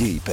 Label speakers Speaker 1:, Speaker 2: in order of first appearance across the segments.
Speaker 1: Jej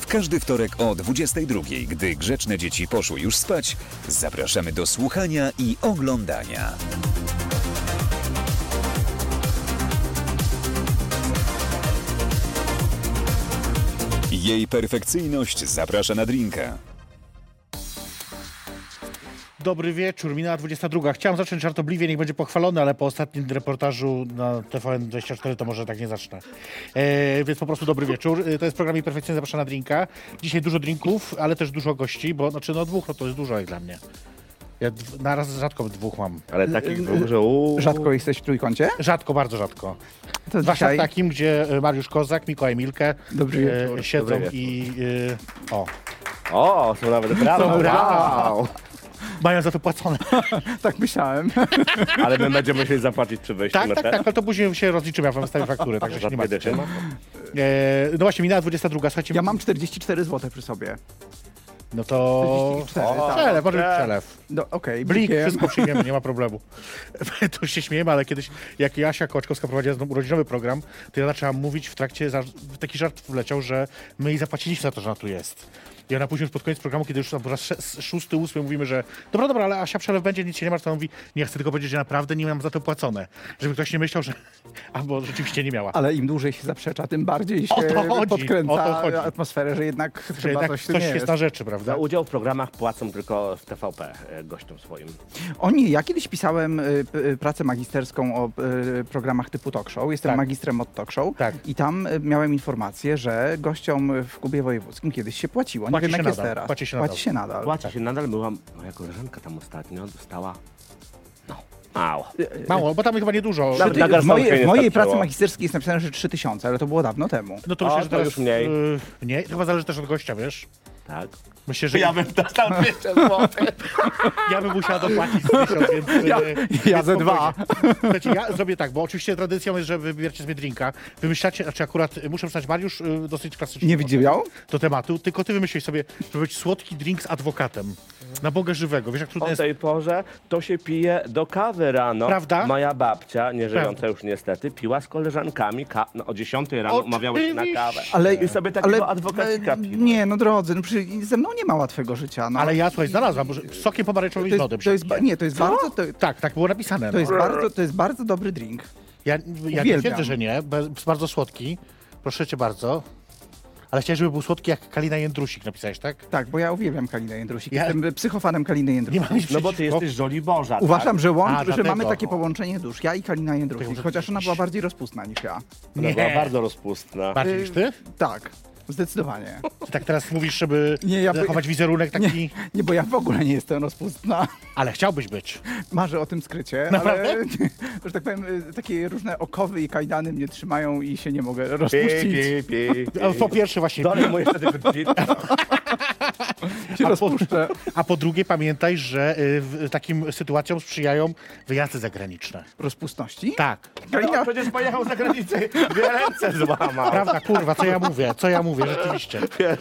Speaker 1: W każdy wtorek o 22, gdy grzeczne dzieci poszły już spać, zapraszamy do słuchania i oglądania. Jej perfekcyjność zaprasza na drinka.
Speaker 2: Dobry wieczór, minęła 22. Chciałem zacząć żartobliwie, niech będzie pochwalony, ale po ostatnim reportażu na TVN24 to może tak nie zacznę. E, więc po prostu dobry wieczór. E, to jest program Imperfekcyjny Zapraszam na drinka. Dzisiaj dużo drinków, ale też dużo gości, bo znaczy no dwóch no to jest dużo jak dla mnie. Ja dw- na raz rzadko dwóch mam.
Speaker 3: Ale takich dwóch, że uuu.
Speaker 4: Rzadko jesteś w trójkącie?
Speaker 2: Rzadko, bardzo rzadko.
Speaker 4: To
Speaker 2: Zwłaszcza
Speaker 4: dzisiaj
Speaker 2: w takim, gdzie e, Mariusz Kozak, Mikołaj Milkę
Speaker 4: Dobry wieczór,
Speaker 2: siedzą
Speaker 3: dobry wieczór.
Speaker 2: i e, o,
Speaker 3: O, są nawet brawa,
Speaker 2: brawa.
Speaker 3: wow.
Speaker 2: mają za to płacone.
Speaker 4: tak myślałem.
Speaker 3: Ale my będziemy musieli zapłacić przy wejściu
Speaker 2: Tak,
Speaker 3: na
Speaker 2: tak,
Speaker 3: ten.
Speaker 2: tak, ale to później się rozliczymy, ja wam stawię fakturę, także się nie
Speaker 3: Za dwie
Speaker 2: martwcie.
Speaker 3: dychy.
Speaker 2: E, no właśnie, minęła 22, słuchajcie.
Speaker 4: Ja mam 44 zł przy sobie.
Speaker 2: No to...
Speaker 4: 44,
Speaker 3: O.
Speaker 4: tak.
Speaker 2: Przelew, może być
Speaker 3: tak.
Speaker 2: przelew.
Speaker 4: No, okej,
Speaker 2: Blik,
Speaker 4: blikiem.
Speaker 2: wszystko przyjmiemy, nie ma problemu. tu się śmiejemy, ale kiedyś, jak Jasia Koczkowska prowadziła znowu urodzinowy program, to ja zaczęłam mówić w trakcie, za, taki żart wleciał, że my jej zapłaciliśmy za to, że ona tu jest. I ona później już pod koniec programu, kiedy już tam po raz sze- szósty, ósmy mówimy, że dobra, dobra, ale Asia przelew będzie, nic się nie martw, to ona mówi, nie, chcę tylko powiedzieć, że naprawdę nie mam za to płacone. Żeby ktoś nie myślał, że... albo rzeczywiście nie miała.
Speaker 4: Ale im dłużej się zaprzecza, tym bardziej się
Speaker 2: to chodzi,
Speaker 4: podkręca
Speaker 2: o to chodzi.
Speaker 4: atmosferę, że jednak chyba
Speaker 2: Że jednak
Speaker 4: coś, tu
Speaker 2: Tak coś
Speaker 4: nie
Speaker 2: się
Speaker 4: jest.
Speaker 2: zna rzeczy, prawda?
Speaker 3: Za udział w programach płacą tylko w TVP e, gościom swoim.
Speaker 4: O nie, ja kiedyś pisałem y, p- y, pracę magisterską o y, programach typu talk show. Jestem
Speaker 2: Tak.
Speaker 4: magistrem od talk show.
Speaker 2: Tak.
Speaker 4: I tam y, miałem informację, że gościom w Kubie Wojewódzkim kiedyś się płaciło. Nie
Speaker 2: Płaci
Speaker 4: wiem,
Speaker 2: się
Speaker 4: jak jest
Speaker 2: nadal,
Speaker 4: teraz.
Speaker 2: płaci się nadal.
Speaker 4: się nadal.
Speaker 3: Płaci się nadal, była moja koleżanka tam ostatnio, dostała, no, mało.
Speaker 2: Mało, bo tam chyba niedużo.
Speaker 3: Nawet na
Speaker 4: W
Speaker 3: garstankę
Speaker 4: mojej,
Speaker 3: nie
Speaker 4: w
Speaker 3: starczyło.
Speaker 4: mojej pracy magisterskiej jest napisane, że 3000, ale to było dawno temu.
Speaker 2: No to
Speaker 3: O,
Speaker 2: myślę, że
Speaker 3: to
Speaker 2: teraz
Speaker 3: już mniej.
Speaker 2: y, mniej. Chyba zależy też od gościa, wiesz?
Speaker 3: Tak.
Speaker 2: Myślę, że
Speaker 3: Ja bym dostał 200 zł.
Speaker 2: ja bym musiała dopłacić z tysiąc, więc... y,
Speaker 4: Ja-
Speaker 2: więc
Speaker 4: ja ze
Speaker 2: spokojnie.
Speaker 4: dwa.
Speaker 2: Słuchajcie, ja zrobię tak, bo oczywiście tradycją jest, że wybieracie sobie drinka. Wymyślacie, znaczy akurat y, muszę przyznać, Mariusz y, dosyć klasyczny.
Speaker 4: Nie widział?
Speaker 2: Do tematu, tylko ty wymyśliłeś sobie, żeby być słodki drink z adwokatem. Na Boga żywego. Wiesz, jak trudno
Speaker 3: O
Speaker 2: jest...
Speaker 3: tej porze to się pije do kawy rano.
Speaker 2: Prawda?
Speaker 3: Moja babcia, nie żyjąca
Speaker 2: Prawda.
Speaker 3: już niestety, piła z koleżankami ka- no, o 10 rano, umawiały się na kawę.
Speaker 4: Ale-
Speaker 3: I sobie takiego
Speaker 4: Ale
Speaker 3: adwokatika
Speaker 4: e,
Speaker 3: piły.
Speaker 4: nie, no drodzy, no przecież ze mną nie ma łatwego życia. No.
Speaker 2: Ale ja, słuchaj, znalazłam, bo z sokiem pomarańczowym
Speaker 4: to
Speaker 2: i z
Speaker 4: jest,
Speaker 2: lodem.
Speaker 4: to
Speaker 2: się
Speaker 4: jest, ba-
Speaker 2: pije.
Speaker 4: nie, to jest bardzo, to,
Speaker 2: Tak, tak było napisane.
Speaker 4: to
Speaker 2: no.
Speaker 4: jest bardzo, to jest bardzo dobry drink.
Speaker 2: Ja, ja nie
Speaker 4: Uwielbiam.
Speaker 2: twierdzę, że nie. bo Jest bardzo słodki. Proszę cię bardzo. Ale chciałeś, żeby był słodki jak Kalina Jędrusik, napisałeś, tak?
Speaker 4: Tak, bo ja uwielbiam Kalinę Jędrusik.
Speaker 2: Ja-
Speaker 4: Jestem psychofanem Kaliny
Speaker 2: Nie
Speaker 4: Jędrusik.
Speaker 2: mam nic
Speaker 3: No bo ty
Speaker 2: przeciwko.
Speaker 3: jesteś żoli Boża. tak?
Speaker 4: Uważam, że, łącz,
Speaker 2: A,
Speaker 4: że
Speaker 2: dlatego.
Speaker 4: mamy takie połączenie dusz. Ja i Kalina Jędrusik,
Speaker 2: może-
Speaker 4: chociaż ona była bardziej rozpustna niż ja.
Speaker 3: Ona
Speaker 2: Nie.
Speaker 3: była bardzo rozpustna.
Speaker 2: Bardziej niż ty?
Speaker 4: Tak, zdecydowanie.
Speaker 2: Ty tak teraz mówisz, żeby
Speaker 4: Nie, ja by-
Speaker 2: zachować wizerunek taki...
Speaker 4: Nie, nie, bo ja w ogóle nie jestem rozpustna.
Speaker 2: Ale chciałbyś być.
Speaker 4: Marzę o tym skrycie,
Speaker 2: Naprawdę?
Speaker 4: ale, że tak powiem, y, takie różne okowy i kajdany mnie trzymają i się nie mogę
Speaker 3: Pi,
Speaker 4: rozpuścić.
Speaker 3: pi, pi, pi.
Speaker 4: E,
Speaker 2: A po pierwsze właśnie...
Speaker 3: Dalej mu jeszcze tylko pi.
Speaker 4: Się
Speaker 2: A po,
Speaker 4: rozpuszczę.
Speaker 2: a po drugie pamiętaj, że y, w, takim sytuacjom sprzyjają wyjazdy zagraniczne.
Speaker 4: Rozpustności?
Speaker 2: Tak.
Speaker 4: Kalina,
Speaker 3: No, przecież pojechał za granicę, dwie ręce złamał.
Speaker 2: Prawda, kurwa, co ja mówię, co ja mówię, rzeczywiście.
Speaker 3: Więc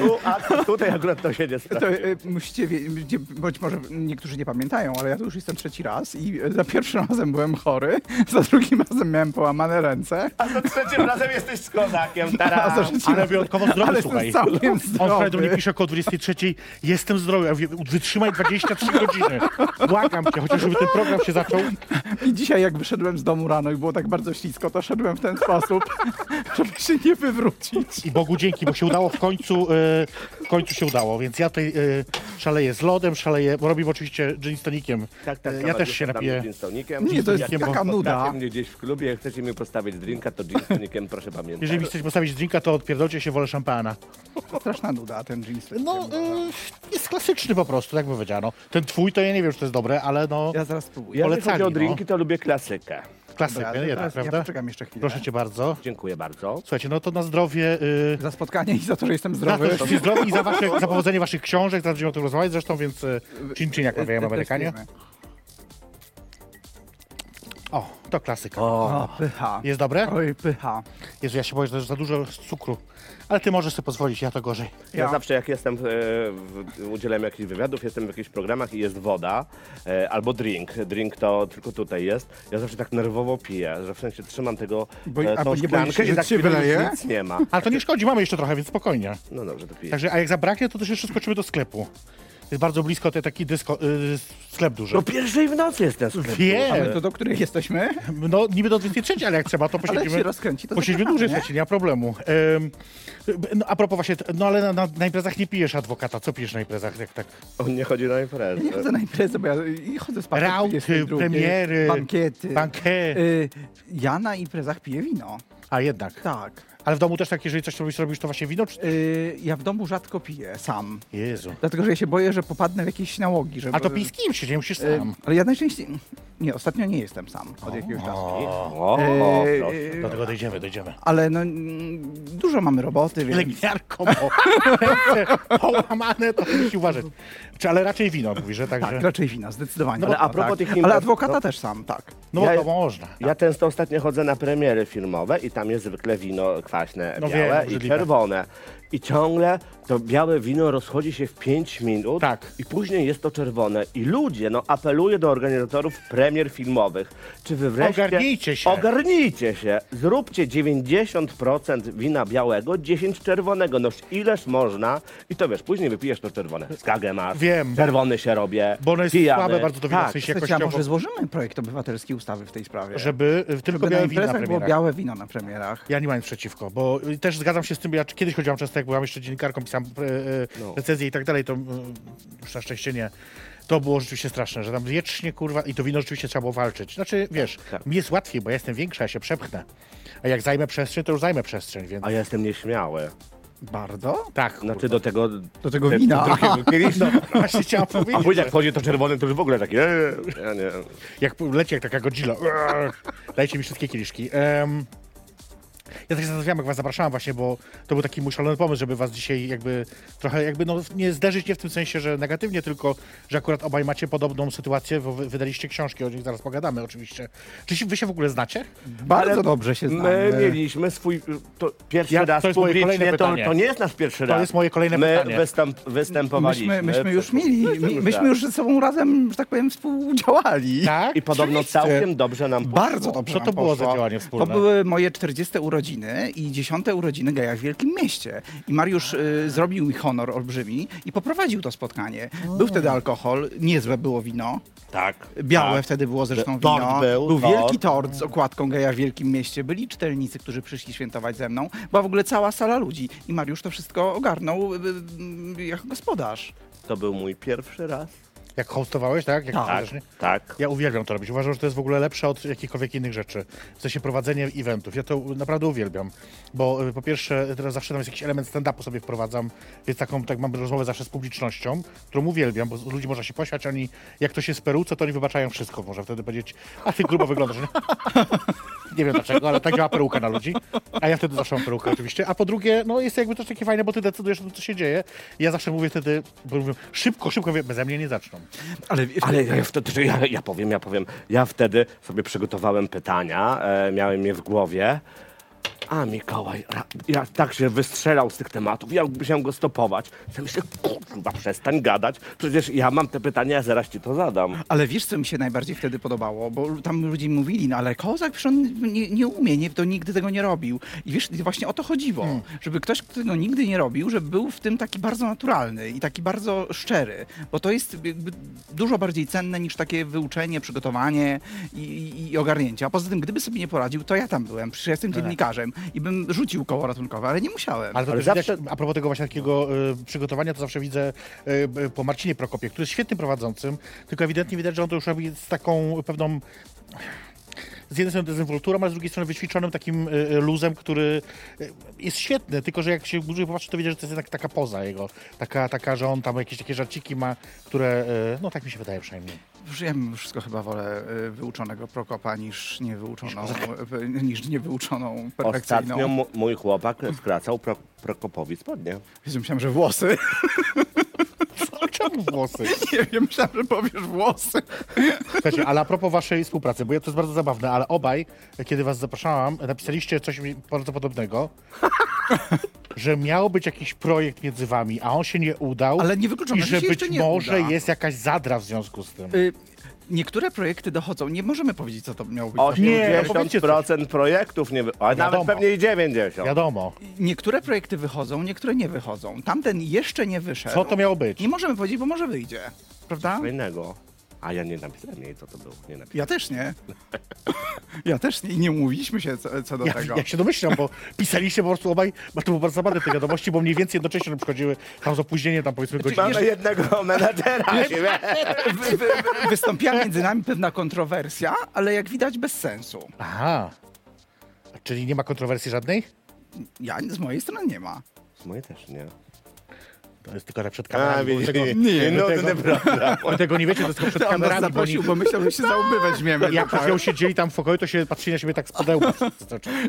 Speaker 3: tu, a tutaj akurat to się nie
Speaker 4: To
Speaker 3: sprawdzi.
Speaker 4: e, musicie wiedzieć, być może niektórzy nie pamiętają, ale ja tu już jestem trzeci raz i e, za pierwszym razem byłem chory, za drugim razem miałem połamane ręce,
Speaker 3: A za trzecim razem jesteś z kozakiem,
Speaker 4: a za
Speaker 3: teraz.
Speaker 4: trzecim
Speaker 2: Ale
Speaker 4: razem
Speaker 2: wyjątkowo zdrowy,
Speaker 4: ale
Speaker 2: słuchaj.
Speaker 4: jestem całkiem
Speaker 2: On wczoraj do mnie
Speaker 4: zdrowy.
Speaker 2: pisze około 23. Jestem zdrowy. Ja mówię, wytrzymaj 23 godziny. Błagam cię, chociaż żeby ten program się zaczął.
Speaker 4: I dzisiaj jak wyszedłem z domu rano i było tak bardzo ślisko, to szedłem w ten sposób, żeby się nie wywrócić.
Speaker 2: I Bogu dzięki, bo się udało w końcu. e, w końcu się udało, więc ja tutaj e, szaleję z lodem, szaleję, bo robimy oczywiście gin z tonikiem.
Speaker 3: Tak, tak,
Speaker 2: E, ja
Speaker 3: nawet
Speaker 2: też się
Speaker 3: jestem
Speaker 2: napiję.
Speaker 3: gin z tonikiem.
Speaker 4: Nie, to jest
Speaker 3: Jak
Speaker 4: taka
Speaker 3: spotkacie
Speaker 4: nuda.
Speaker 3: mnie gdzieś w klubie, jak chcecie mi postawić drinka, to gin z tonikiem, proszę pamiętać.
Speaker 2: Jeżeli mi chcecie postawić drinka, to odpierdolcie się, wolę szampana.
Speaker 4: Straszna nuda ten jeans.
Speaker 2: No, e, jest klasyczny po prostu, tak by powiedziano. Ten twój to ja nie wiem, czy to jest dobre, ale no.
Speaker 4: Ja zaraz spróbuję.
Speaker 3: Ja jeżeli
Speaker 2: polecali,
Speaker 3: chodzi o
Speaker 2: no.
Speaker 3: drinki, to lubię klasykę.
Speaker 2: Klasyk,
Speaker 4: Dobra,
Speaker 2: nie?
Speaker 4: to
Speaker 2: Jednak,
Speaker 4: teraz ja
Speaker 2: prawda?
Speaker 4: poczekam jeszcze chwilę.
Speaker 2: Proszę cię bardzo.
Speaker 3: Dziękuję bardzo.
Speaker 2: Słuchajcie, no to na zdrowie. y,
Speaker 4: Za spotkanie i za to, że jestem
Speaker 2: Za to,
Speaker 4: zdrowy.
Speaker 2: że jesteście zdrowi i za, wasze, za powodzenie waszych książek, teraz będziemy o tym rozmawiać zresztą, więc y, chin chin, jak mawiają Amerykanie. O, to klasyka.
Speaker 4: O, pycha.
Speaker 2: Jest dobre?
Speaker 4: Oj, pycha.
Speaker 2: Jezu, ja się boję, że za dużo cukru. Ale ty możesz sobie pozwolić, ja to gorzej.
Speaker 3: Ja, zawsze jak jestem, e, w, udzielam jakichś wywiadów, jestem w jakichś programach i jest woda e, albo drink. Drink to tylko tutaj jest. Ja zawsze tak nerwowo piję, że w sensie trzymam tego,
Speaker 4: Bo-
Speaker 3: e, tą
Speaker 4: a bo nie boisz
Speaker 3: szklankę
Speaker 4: się,
Speaker 3: i
Speaker 4: że
Speaker 3: tak
Speaker 4: ci
Speaker 3: chwilę już
Speaker 4: wyleje?
Speaker 3: nic nie ma.
Speaker 4: Tak.
Speaker 2: Ale to nie szkodzi, mamy jeszcze trochę, więc spokojnie.
Speaker 3: No dobrze, to piję.
Speaker 2: Także a jak zabraknie, to też jeszcze skoczymy do sklepu. Jest bardzo blisko te taki dysko, y, sklep duży.
Speaker 4: No
Speaker 3: O pierwszej w nocy jest ten sklep.
Speaker 2: Wiem.
Speaker 4: Ale to do których jesteśmy?
Speaker 2: No niby do 23, ale jak trzeba, to
Speaker 4: Ale jak się
Speaker 2: posiedzimy.
Speaker 4: rozkręci, to
Speaker 2: Posiedźmy
Speaker 4: zapraszam,
Speaker 2: dłużej,
Speaker 4: nie?
Speaker 2: słuchajcie, nie ma problemu. Ym, no, a propos właśnie, no ale na, na, na imprezach nie pijesz adwokata. Co pijesz na imprezach? Jak tak?
Speaker 3: On nie chodzi na imprezę.
Speaker 4: Nie chodzę na imprezę, bo ja i chodzę z panem
Speaker 2: Rauty,
Speaker 4: 22,
Speaker 2: premiery,
Speaker 4: bankiety.
Speaker 2: Bankę.
Speaker 4: Y, ja na imprezach piję wino.
Speaker 2: A jednak.
Speaker 4: Tak.
Speaker 2: Ale w domu też tak, jeżeli coś robisz, robisz to właśnie wino? Czy...
Speaker 4: Y, ja w domu rzadko piję sam.
Speaker 2: Jezu.
Speaker 4: Dlatego, że ja się boję, że popadnę w jakieś nałogi. Żeby...
Speaker 2: A to pij z kimś, nie musisz
Speaker 4: Y,
Speaker 2: sam.
Speaker 4: ale ja najczęściej... Nie, ostatnio nie jestem sam od jakiegoś czasu.
Speaker 3: O, o,
Speaker 4: Y,
Speaker 3: proszę.
Speaker 4: y,
Speaker 2: Do tego dojdziemy, dojdziemy.
Speaker 4: ale no, mm, dużo mamy roboty, więc...
Speaker 2: Pielęgniarką, bo ręce połamane, to musi uważać. Czy, ale raczej wino, mówisz, że także...
Speaker 4: Tak, raczej wina, zdecydowanie.
Speaker 3: No bo- a propos
Speaker 4: tak.
Speaker 3: tych
Speaker 4: Ale
Speaker 3: imprez,
Speaker 4: adwokata
Speaker 3: no-
Speaker 4: też sam, tak.
Speaker 2: No bo
Speaker 3: Ja-
Speaker 2: to można.
Speaker 3: Ja często ostatnio chodzę na premiery filmowe i tam jest zwykle wino kwaśne,
Speaker 2: No wiem,
Speaker 3: białe i
Speaker 2: obrzydliwe.
Speaker 3: czerwone. I ciągle to białe wino rozchodzi się w 5 minut
Speaker 2: Tak.
Speaker 3: i później jest to czerwone. I ludzie, no apeluję do organizatorów premier filmowych, czy wy wreszcie...
Speaker 2: Ogarnijcie się.
Speaker 3: Ogarnijcie się. Zróbcie 90% wina białego, 10 czerwonego. Noż ileż można i to wiesz, później wypijesz to czerwone. Skagę masz,
Speaker 2: Wiem.
Speaker 3: czerwony się robię,
Speaker 2: Bo ono jest
Speaker 3: pijany.
Speaker 2: słabe bardzo do wina, w
Speaker 3: tak.
Speaker 2: sensie
Speaker 4: Słuchajcie, a
Speaker 2: jakościowo,
Speaker 4: może złożymy projekt obywatelski ustawy w tej sprawie?
Speaker 2: żeby y, tylko
Speaker 4: Żeby na
Speaker 2: białe wino na
Speaker 4: imprezach było
Speaker 2: premierach.
Speaker 4: białe wino na premierach.
Speaker 2: Ja nie mam nic przeciwko, bo y, też zgadzam się z tym, bo ja czy- kiedyś chodziłam często, jak byłam jeszcze dziennikarką, pisałam e, e,
Speaker 3: No.
Speaker 2: recenzje i tak dalej, to y, już na szczęście nie. To było rzeczywiście straszne, że tam wiecznie, kurwa, i to wino rzeczywiście trzeba było walczyć. Znaczy, wiesz,
Speaker 3: Tak.
Speaker 2: mi jest łatwiej, bo ja jestem większa, ja się przepchnę. A jak zajmę przestrzeń, to już zajmę przestrzeń, więc...
Speaker 3: A ja jestem nieśmiały.
Speaker 4: Bardzo?
Speaker 2: Tak, kurwa.
Speaker 3: Znaczy do tego...
Speaker 4: Do tego
Speaker 3: te-
Speaker 4: wina.
Speaker 3: drugiego kieliszka.
Speaker 2: No, właśnie chciałam
Speaker 3: A
Speaker 2: powiedzieć,
Speaker 3: później
Speaker 2: jak,
Speaker 3: jak wchodzi to czerwone, to już w ogóle takie... eee, Ja nie...
Speaker 2: jak leci jak taka Godzilla, eee, dajcie mi wszystkie kieliszki. Em, ja tak się zastanawiałem, jak was zapraszałem właśnie, bo to był taki mój szalony pomysł, żeby was dzisiaj jakby trochę jakby no, nie zderzyć nie w tym sensie, że negatywnie, tylko że akurat obaj macie podobną sytuację, bo wy wydaliście książki, o nich zaraz pogadamy oczywiście. Czy się- wy się w ogóle znacie?
Speaker 4: Bardzo
Speaker 3: Ale
Speaker 4: dobrze się znamy.
Speaker 3: My mieliśmy swój... To pierwszy
Speaker 2: Ja-
Speaker 3: raz
Speaker 2: to jest moje
Speaker 3: publicznie,
Speaker 2: kolejne
Speaker 3: to,
Speaker 2: pytanie.
Speaker 3: to nie jest nasz pierwszy raz.
Speaker 2: jest moje kolejne
Speaker 3: my
Speaker 2: pytanie.
Speaker 3: Występ, występowaliśmy.
Speaker 4: Myśmy, myśmy już
Speaker 3: przed-
Speaker 4: mieli, my, myśmy
Speaker 3: raz.
Speaker 4: już ze sobą razem, że tak powiem, współdziałali.
Speaker 2: Tak?
Speaker 3: I podobno
Speaker 2: Oczywiście.
Speaker 3: całkiem dobrze nam poszło.
Speaker 4: Bardzo dobrze
Speaker 2: Co
Speaker 4: nam
Speaker 2: to było za
Speaker 4: poszło.
Speaker 2: działanie wspólne?
Speaker 4: To były moje 40 urodziny i 10 urodziny geja w Wielkim Mieście. I Mariusz y, zrobił mi honor olbrzymi i poprowadził to spotkanie. Był wtedy alkohol, niezłe było wino.
Speaker 3: Tak.
Speaker 4: Białe wtedy było zresztą
Speaker 3: Tort
Speaker 4: wino.
Speaker 3: był, tort.
Speaker 4: wielki tort z okładką geja w Wielkim Mieście. Byli czytelnicy, którzy przyszli świętować ze mną. Była w ogóle cała sala ludzi. I Mariusz to wszystko ogarnął y, y, jak gospodarz.
Speaker 3: Tak, To był mój pierwszy raz.
Speaker 2: Jak hostowałeś, tak? Jak
Speaker 4: Tak.
Speaker 2: towarzysznie?
Speaker 3: Tak.
Speaker 2: Ja uwielbiam to robić. Uważam, że to jest w ogóle lepsze od jakichkolwiek innych rzeczy. W sensie prowadzenie eventów. Ja to naprawdę uwielbiam. Bo y, po pierwsze, teraz zawsze tam jest jakiś element stand-upu sobie wprowadzam, więc taką, tak mam rozmowę zawsze z publicznością, którą uwielbiam, bo z ludzi można się posiać, oni, jak to się z Peru, co to oni wybaczają wszystko. Można wtedy powiedzieć, a ty grubo wyglądasz. nie? Nie wiem dlaczego, ale tak działa peruka na ludzi. A ja wtedy zawsze mam perukę oczywiście. A po drugie, no jest jakby też takie fajne, bo ty decydujesz o tym, co się dzieje. I ja zawsze mówię wtedy, bo mówię, szybko, szybko, mówię, ze mnie nie zaczną.
Speaker 4: Ale,
Speaker 3: Ale ja, wtedy, ja, ja powiem, ja powiem. Ja wtedy sobie przygotowałem pytania, e, miałem je w głowie. A Mikołaj, ra- ja tak się wystrzelał z tych tematów, ja musiałem go stopować. Ja myślę, kurwa, przestań gadać, przecież ja mam te pytania, ja zaraz ci to zadam.
Speaker 4: Ale wiesz, co mi się najbardziej wtedy podobało? Bo tam ludzie mówili, no ale Kozak, przecież on nie, nie umie, nie, to nigdy tego nie robił. I wiesz, właśnie o to chodziło. Żeby ktoś, kto tego nigdy nie robił, żeby był w tym taki bardzo naturalny i taki bardzo szczery. Bo to jest jakby dużo bardziej cenne niż takie wyuczenie, przygotowanie i, i, i ogarnięcie. A poza tym, gdyby sobie nie poradził, to ja tam byłem. Przecież ja jestem dziennikarzem i bym rzucił koło ratunkowe, ale nie musiałem.
Speaker 2: Ale to
Speaker 3: Ale
Speaker 2: też widać,
Speaker 3: zawsze-
Speaker 2: a propos tego właśnie takiego y, przygotowania, to zawsze widzę y, y, po Marcinie Prokopie, który jest świetnym prowadzącym, tylko ewidentnie widać, że on to już robi z taką pewną z jednej strony dezynwolturą, ale z drugiej strony wyćwiczonym takim y, y, luzem, który y, jest świetny, tylko że jak się bliżej popatrzy, to widać, że to jest jednak taka poza jego. Taka, taka że on tam jakieś takie żarciki ma, które, y, no tak mi się wydaje przynajmniej.
Speaker 4: Już ja bym wszystko chyba wolę y, wyuczonego Prokopa niż niewyuczoną, y, niż niewyuczoną perfekcyjną.
Speaker 3: Ostatnio
Speaker 4: Ostatnio...
Speaker 3: mu- mój chłopak skracał pro, Prokopowi spodnie.
Speaker 4: Myślałem, że włosy.
Speaker 2: Czemu włosy?
Speaker 4: Nie wiem, myślałem, że powiesz włosy.
Speaker 2: Słuchajcie, ale a propos waszej współpracy, bo ja to jest bardzo zabawne, ale obaj, kiedy was zapraszałam, napisaliście coś mi bardzo podobnego, że miał być jakiś projekt między wami, a on się nie udał.
Speaker 4: Ale niewykluczone,
Speaker 2: I
Speaker 4: że
Speaker 2: że
Speaker 4: się jeszcze
Speaker 2: być
Speaker 4: nie
Speaker 2: może
Speaker 4: uda.
Speaker 2: jest jakaś zadra w związku z tym.
Speaker 4: Y, niektóre projekty dochodzą. Nie możemy powiedzieć, co to miało być. za-
Speaker 2: Nie, no
Speaker 3: 80% projektów nie wy... A nawet
Speaker 2: Wiadomo.
Speaker 3: pewnie i 90.
Speaker 2: Wiadomo,
Speaker 4: Niektóre projekty wychodzą, niektóre nie wychodzą. Tamten jeszcze nie wyszedł.
Speaker 2: co to miało być?
Speaker 4: Nie możemy powiedzieć, bo może wyjdzie. Prawda?
Speaker 3: Innego. A ja nie napisałem jej, co to było. Nie napisałem.
Speaker 4: Ja też nie. Ja też nie. I Nie mówiliśmy się co, co do
Speaker 2: Ja,
Speaker 4: tego.
Speaker 2: ja się domyślam, bo pisaliście po prostu obaj, bo to było bardzo zabawne te wiadomości, bo mniej więcej jednocześnie nam przychodziły tam z opóźnieniem, tam powiedzmy
Speaker 4: Znaczy,
Speaker 2: godzinę.
Speaker 3: Mamy jednego menadżera. siebie.
Speaker 4: Wy, wy, wystąpiła między nami pewna kontrowersja, ale jak widać bez sensu.
Speaker 2: Aha. Czyli nie ma kontrowersji żadnej?
Speaker 4: Ja z mojej strony nie ma.
Speaker 3: Moje też nie.
Speaker 2: To jest tylko tak przed kamerami. bo tego,
Speaker 3: nie, no,
Speaker 2: do
Speaker 3: nudny
Speaker 2: tego-
Speaker 3: program.
Speaker 2: bo tego nie wiecie, to jest tylko przed
Speaker 4: To on nas
Speaker 2: kamerami, bo oni
Speaker 4: zaprosił, bo myślał, że się za łby weźmiemy.
Speaker 2: jak przed nią siedzieli tam w pokoju, to się patrzyli na siebie tak z pudełka.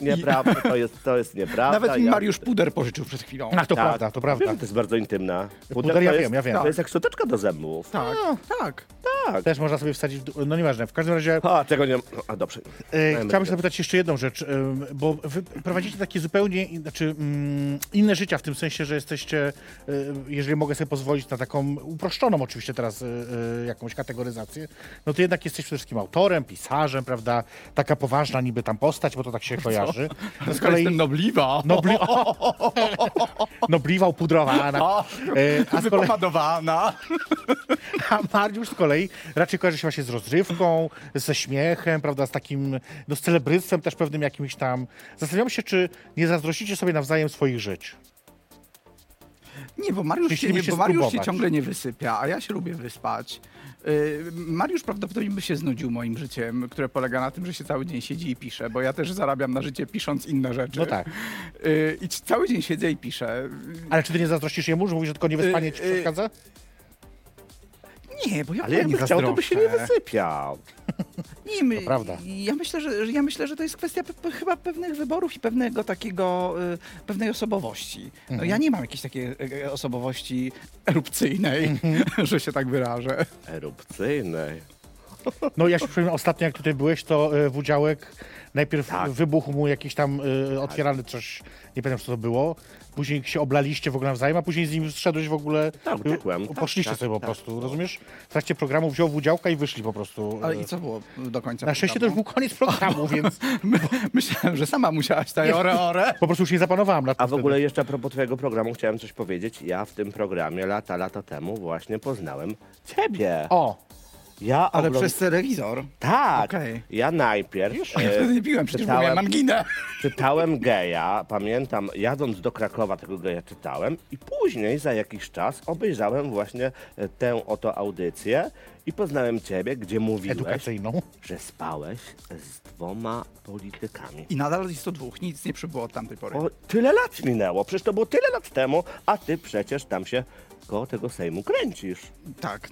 Speaker 3: Nieprawda, to jest, to jest nieprawda.
Speaker 4: Nawet mi
Speaker 3: ja-
Speaker 4: Mariusz Puder pożyczył przed chwilą.
Speaker 2: Ach, to
Speaker 3: Tak.
Speaker 2: prawda, to prawda.
Speaker 3: Wiem, że to jest bardzo intymna.
Speaker 2: Puder, ja
Speaker 3: to
Speaker 2: wiem, ja wiem.
Speaker 3: To jest jak szczoteczka do zębów.
Speaker 4: Tak, tak.
Speaker 2: Też można sobie wsadzić, w dół- no nieważne. W każdym razie
Speaker 3: A, tego nie... no, A, dobrze.
Speaker 2: E,
Speaker 3: Dajmy
Speaker 2: chciałbym
Speaker 3: tego.
Speaker 2: zapytać jeszcze jedną rzecz, em, bo wy prowadzicie takie zupełnie in- znaczy, mm, inne życia, w tym sensie, że jesteście, e, jeżeli mogę sobie pozwolić na taką uproszczoną oczywiście teraz e, e, jakąś kategoryzację, no to jednak jesteś przede wszystkim autorem, pisarzem, prawda, taka poważna niby tam postać, bo to tak się kojarzy. No z kolei
Speaker 4: Jestem nobliwa.
Speaker 2: nobli... nobliwa, No, upudrowana.
Speaker 4: No.
Speaker 2: E, a z kolei
Speaker 4: Wypomadowana.
Speaker 2: a Mariusz z kolei raczej kojarzy się właśnie z rozrywką, ze śmiechem, prawda, z takim, no z celebryctwem też pewnym jakimś tam. Zastanawiam się, czy nie zazdrościcie sobie nawzajem swoich żyć.
Speaker 4: Nie, bo Mariusz, się, nie,
Speaker 2: Chcielibyście
Speaker 4: bo Mariusz się
Speaker 2: spróbować.
Speaker 4: ciągle nie wysypia, a ja się lubię wyspać. Yy, Mariusz prawdopodobnie by się znudził moim życiem, które polega na tym, że się cały dzień siedzi i pisze, bo ja też zarabiam na życie pisząc inne rzeczy.
Speaker 2: No tak.
Speaker 4: Yy, I c- cały dzień siedzę i piszę.
Speaker 2: Ale czy ty nie zazdrościsz jemu, że mówisz, że tylko niewyspanie ci
Speaker 4: Y, y,
Speaker 2: przeszkadza?
Speaker 4: Nie, bo ja w
Speaker 3: Ale
Speaker 4: ogóle nie
Speaker 3: jakby chciał, to by się nie
Speaker 4: zazdroszczę.
Speaker 3: wysypiał.
Speaker 4: Nie, my,
Speaker 2: prawda.
Speaker 4: Ja myślę, że, że- ja myślę, że to jest kwestia pe, pe, chyba pewnych wyborów i pewnego takiego, y, pewnej osobowości. No,
Speaker 2: Mhm.
Speaker 4: Ja nie mam jakiejś takiej e, osobowości erupcyjnej,
Speaker 2: Mhm.
Speaker 4: że się tak wyrażę.
Speaker 3: Erupcyjnej.
Speaker 2: No ja się przypomnę, ostatnio jak tutaj byłeś, to e, w udziałek najpierw
Speaker 3: Tak.
Speaker 2: wybuchł mu jakiś tam e, otwierany coś, nie pamiętam, co to było. Później się oblaliście w ogóle nawzajem, a później z nim zszedłeś w ogóle. e,
Speaker 3: Tak, uciekłem. Tak,
Speaker 2: Poszliście
Speaker 3: tak,
Speaker 2: sobie po
Speaker 3: tak.
Speaker 2: prostu, rozumiesz? W trakcie programu wziął w udziałka i wyszli po prostu.
Speaker 4: Ale
Speaker 2: e,
Speaker 4: i co było do końca?
Speaker 2: Na szczęście to już
Speaker 4: programu?
Speaker 2: był koniec programu, więc
Speaker 4: My, myślałem, że sama musiałaś tak- tutaj ore, ore.
Speaker 2: po prostu już nie zapanowałam nad tym.
Speaker 3: A w ogóle jeszcze a propos twojego programu chciałem coś powiedzieć. Ja w tym programie lata, lata temu właśnie poznałem ciebie.
Speaker 2: wtedy. O,
Speaker 3: ja
Speaker 4: Ale
Speaker 3: ogląd-
Speaker 4: przez telewizor.
Speaker 2: E,
Speaker 3: Tak.
Speaker 4: Okej.
Speaker 3: Ja najpierw e,
Speaker 4: Ja wtedy nie piłem, przecież bo
Speaker 3: czytałem-
Speaker 4: miałem anginę.
Speaker 3: czytałem geja, pamiętam, jadąc do Krakowa tego geja czytałem i później za jakiś czas obejrzałem właśnie e, tę oto audycję i poznałem ciebie, gdzie mówiłeś,
Speaker 2: edukacyjną.
Speaker 3: że spałeś z dwoma politykami.
Speaker 4: I nadal jest to dwóch, nic nie przybyło od tamtej pory.
Speaker 3: O, tyle lat minęło, przecież to było tyle lat temu, a ty przecież tam się koło tego Sejmu kręcisz.
Speaker 4: Tak,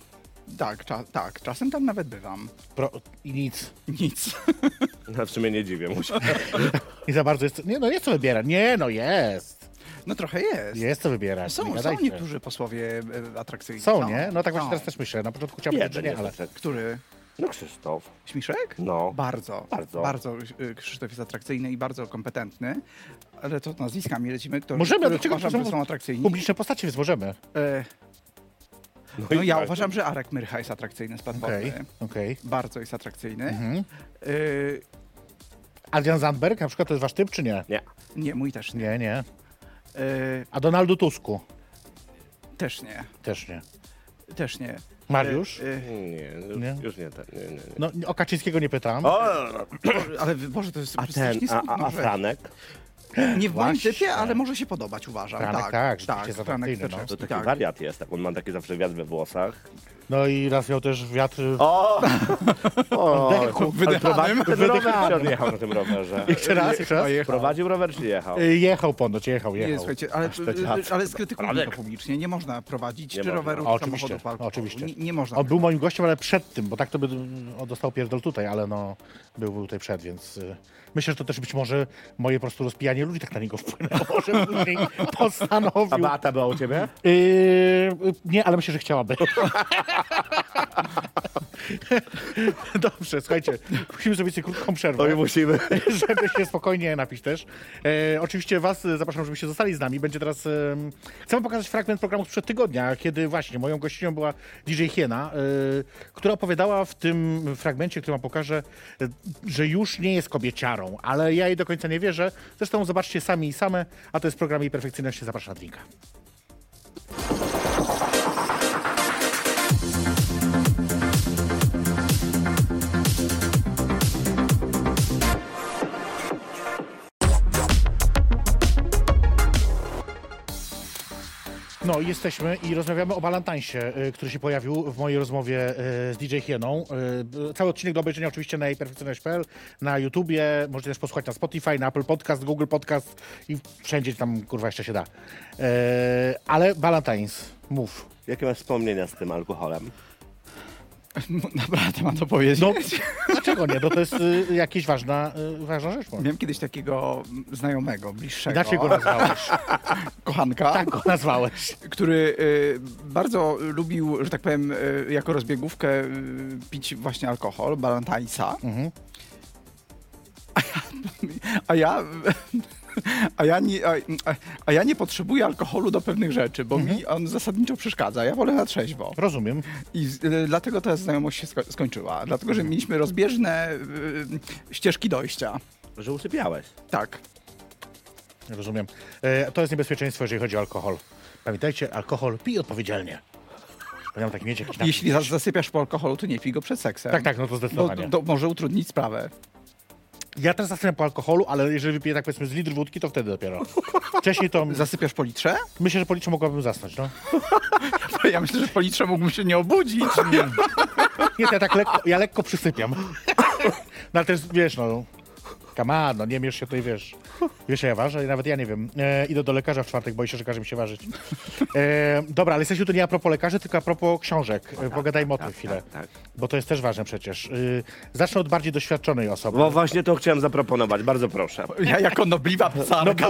Speaker 4: tak, cza, tak. Czasem tam nawet bywam.
Speaker 2: Pro... I nic.
Speaker 4: Nic.
Speaker 3: No, w sumie nie dziwię mu się.
Speaker 2: Nie za bardzo jest. Nie, no jest co wybiera. Nie, no jest.
Speaker 4: No trochę jest.
Speaker 2: Jest co wybiera. nie
Speaker 4: No Są, są
Speaker 2: gadajcie.
Speaker 4: niektórzy posłowie e, atrakcyjni.
Speaker 2: Są, nie? No tak właśnie
Speaker 4: Są.
Speaker 2: teraz też myślę. Na początku chciałbym powiedzieć,
Speaker 3: Jeden
Speaker 2: że nie,
Speaker 3: jest
Speaker 2: ale.
Speaker 3: tak.
Speaker 4: Który?
Speaker 3: No Krzysztof.
Speaker 4: Śmiszek?
Speaker 3: No.
Speaker 4: Bardzo.
Speaker 3: Bardzo.
Speaker 4: Bardzo y, Krzysztof jest atrakcyjny i bardzo kompetentny. Ale to nazwiskami lecimy, którzy,
Speaker 2: Możemy, ale
Speaker 4: których
Speaker 2: dlaczego
Speaker 4: uważam, że są atrakcyjni.
Speaker 2: Publiczne postacie, więc możemy.
Speaker 4: E,
Speaker 3: No,
Speaker 4: No
Speaker 3: i
Speaker 4: ja
Speaker 3: bardzo.
Speaker 4: uważam, że Arek Myrcha jest atrakcyjny z Platformy.
Speaker 2: Okej, Mhm. okej.
Speaker 4: Bardzo jest atrakcyjny. Y,
Speaker 2: Adrian Zandberg na przykład to jest wasz typ, czy nie?
Speaker 3: Nie.
Speaker 4: nie, mój też nie.
Speaker 2: Nie, nie.
Speaker 4: Y,
Speaker 2: A Donaldu Tusku?
Speaker 4: też nie.
Speaker 2: Też nie.
Speaker 4: Też nie.
Speaker 3: E,
Speaker 2: Mariusz?
Speaker 4: Y,
Speaker 3: Nie, już
Speaker 2: Nie?
Speaker 3: nie, już nie, tak, nie, nie, nie.
Speaker 2: No, o Kaczyńskiego nie pytam.
Speaker 3: O,
Speaker 4: y, ale wy- Boże, to jest
Speaker 3: a ten,
Speaker 4: strasznie
Speaker 3: a,
Speaker 4: smutna
Speaker 3: a, a
Speaker 4: rzecz.
Speaker 3: Franek?
Speaker 4: Nie w moim
Speaker 2: Właśnie.
Speaker 4: typie, ale może się podobać, uważam.
Speaker 2: Franek, tak,
Speaker 4: tak,
Speaker 2: rzeczywiście jest atrakcyjny, no.
Speaker 3: To taki
Speaker 4: tak.
Speaker 3: wariat jest, tak. on ma taki zawsze wiatr we włosach.
Speaker 2: No i raz miał też wiatr.
Speaker 3: O! o
Speaker 4: Deku, wydechanym.
Speaker 3: Ten rower się odjechał na tym rowerze.
Speaker 2: Jeszcze
Speaker 3: e,
Speaker 2: raz, jeszcze raz.
Speaker 4: Ojej.
Speaker 3: Prowadził rower czy jechał?
Speaker 2: Y, Jechał ponoć, jechał,
Speaker 4: Nie,
Speaker 2: jechał.
Speaker 4: słuchajcie, ale,
Speaker 3: teatr.
Speaker 4: ale skrytykujmy to
Speaker 3: Radek.
Speaker 4: publicznie. Nie można prowadzić
Speaker 3: Nie
Speaker 4: czy
Speaker 3: można.
Speaker 4: roweru,
Speaker 2: A,
Speaker 4: czy
Speaker 2: oczywiście, No,
Speaker 4: samochodu parku.
Speaker 2: oczywiście.
Speaker 4: Nie, nie można. tak
Speaker 2: On był moim gościem, ale przed tym, bo tak to by mm, on dostał pierdol tutaj, ale no był, był tutaj przed, więc y, myślę, że to też być może moje po prostu rozpijanie ludzi tak na niego wpłynęło, że później
Speaker 3: A
Speaker 2: postanowił.
Speaker 3: Beata była u ciebie?
Speaker 2: Y, y, nie, ale myślę, że chciałaby. Dobrze, słuchajcie, musimy zrobić sobie krótką przerwę.
Speaker 3: Oj, musimy.
Speaker 2: żeby się spokojnie napić też. E, oczywiście was e, zapraszam, żebyście zostali z nami. Będzie teraz... em, chcę wam pokazać fragment programu sprzed tygodnia, kiedy właśnie moją gościnią była DJ Hiena, e, która opowiadała w tym fragmencie, który wam pokażę, e, że już nie jest kobieciarą, ale ja jej do końca nie wierzę. Zresztą zobaczcie sami i same, a to jest program jej perfekcyjność. Zapraszam na drinka. No, i jesteśmy i rozmawiamy o Balantansie, y, który się pojawił w mojej rozmowie y, z DJ Hieną. Y, y, Cały odcinek do obejrzenia oczywiście na jejperfekcyjność.pl, na YouTubie, możecie też posłuchać na Spotify, na Apple Podcast, Google Podcast i wszędzie tam, kurwa, jeszcze się da. Y, Ale Balantines, mów.
Speaker 3: Jakie masz wspomnienia z tym alkoholem?
Speaker 4: No, Naprawdę mam to powiedzieć.
Speaker 2: No, dlaczego nie? No, to jest y, jakaś ważna, y, ważna rzecz. może.
Speaker 4: Miałem kiedyś takiego znajomego, bliższego,
Speaker 2: Inaczej go nazwałeś.
Speaker 4: kochanka,
Speaker 2: Tak go nazwałeś.
Speaker 4: który y, bardzo lubił, że tak powiem, y, jako rozbiegówkę y, pić właśnie alkohol, balantańca.
Speaker 2: Mhm.
Speaker 4: A ja. A ja, nie, a, a ja nie potrzebuję alkoholu do pewnych rzeczy, bo mi
Speaker 2: Mhm.
Speaker 4: on zasadniczo przeszkadza. Ja wolę na trzeźwo.
Speaker 2: Rozumiem.
Speaker 4: I z, y, dlatego ta znajomość się sko- skończyła. Dlatego, że mieliśmy rozbieżne y, ścieżki dojścia.
Speaker 3: Że usypiałeś.
Speaker 4: Tak.
Speaker 2: Rozumiem. E, To jest niebezpieczeństwo, jeżeli chodzi o alkohol. Pamiętajcie, alkohol pij odpowiedzialnie. Miałem tak mieć jakiś napis.
Speaker 4: Jeśli zas- zasypiasz po alkoholu, to nie pij go przed seksem.
Speaker 2: Tak, tak, no to
Speaker 4: Bo
Speaker 2: zdecydowanie.
Speaker 4: to może utrudnić sprawę.
Speaker 2: Ja teraz zasypiam po alkoholu, ale jeżeli wypiję tak powiedzmy z litr wódki, to wtedy dopiero. Wcześniej to
Speaker 4: Zasypiasz po litrze?
Speaker 2: myślę, że po litrze mogłabym zasnąć, no.
Speaker 4: Ja myślę, że po litrze mógłbym się nie obudzić.
Speaker 2: Nie, to ja tak lekko, ja lekko przysypiam. No ale też, wiesz, no, come on, no nie miesz się tutaj, wiesz. Wiesz, ja ważę i nawet ja nie wiem. E, idę do lekarza w czwartek, boję się, że każe mi się ważyć. E, dobra, ale jesteśmy tu nie a propos lekarzy, tylko a propos książek. E, Pogadajmy o tym chwilę.
Speaker 3: tak.
Speaker 2: Bo to jest też ważne przecież. Y, zacznę od bardziej doświadczonej osoby.
Speaker 3: Bo właśnie to chciałem zaproponować, bardzo proszę.
Speaker 4: Ja jako nobliwa psarka,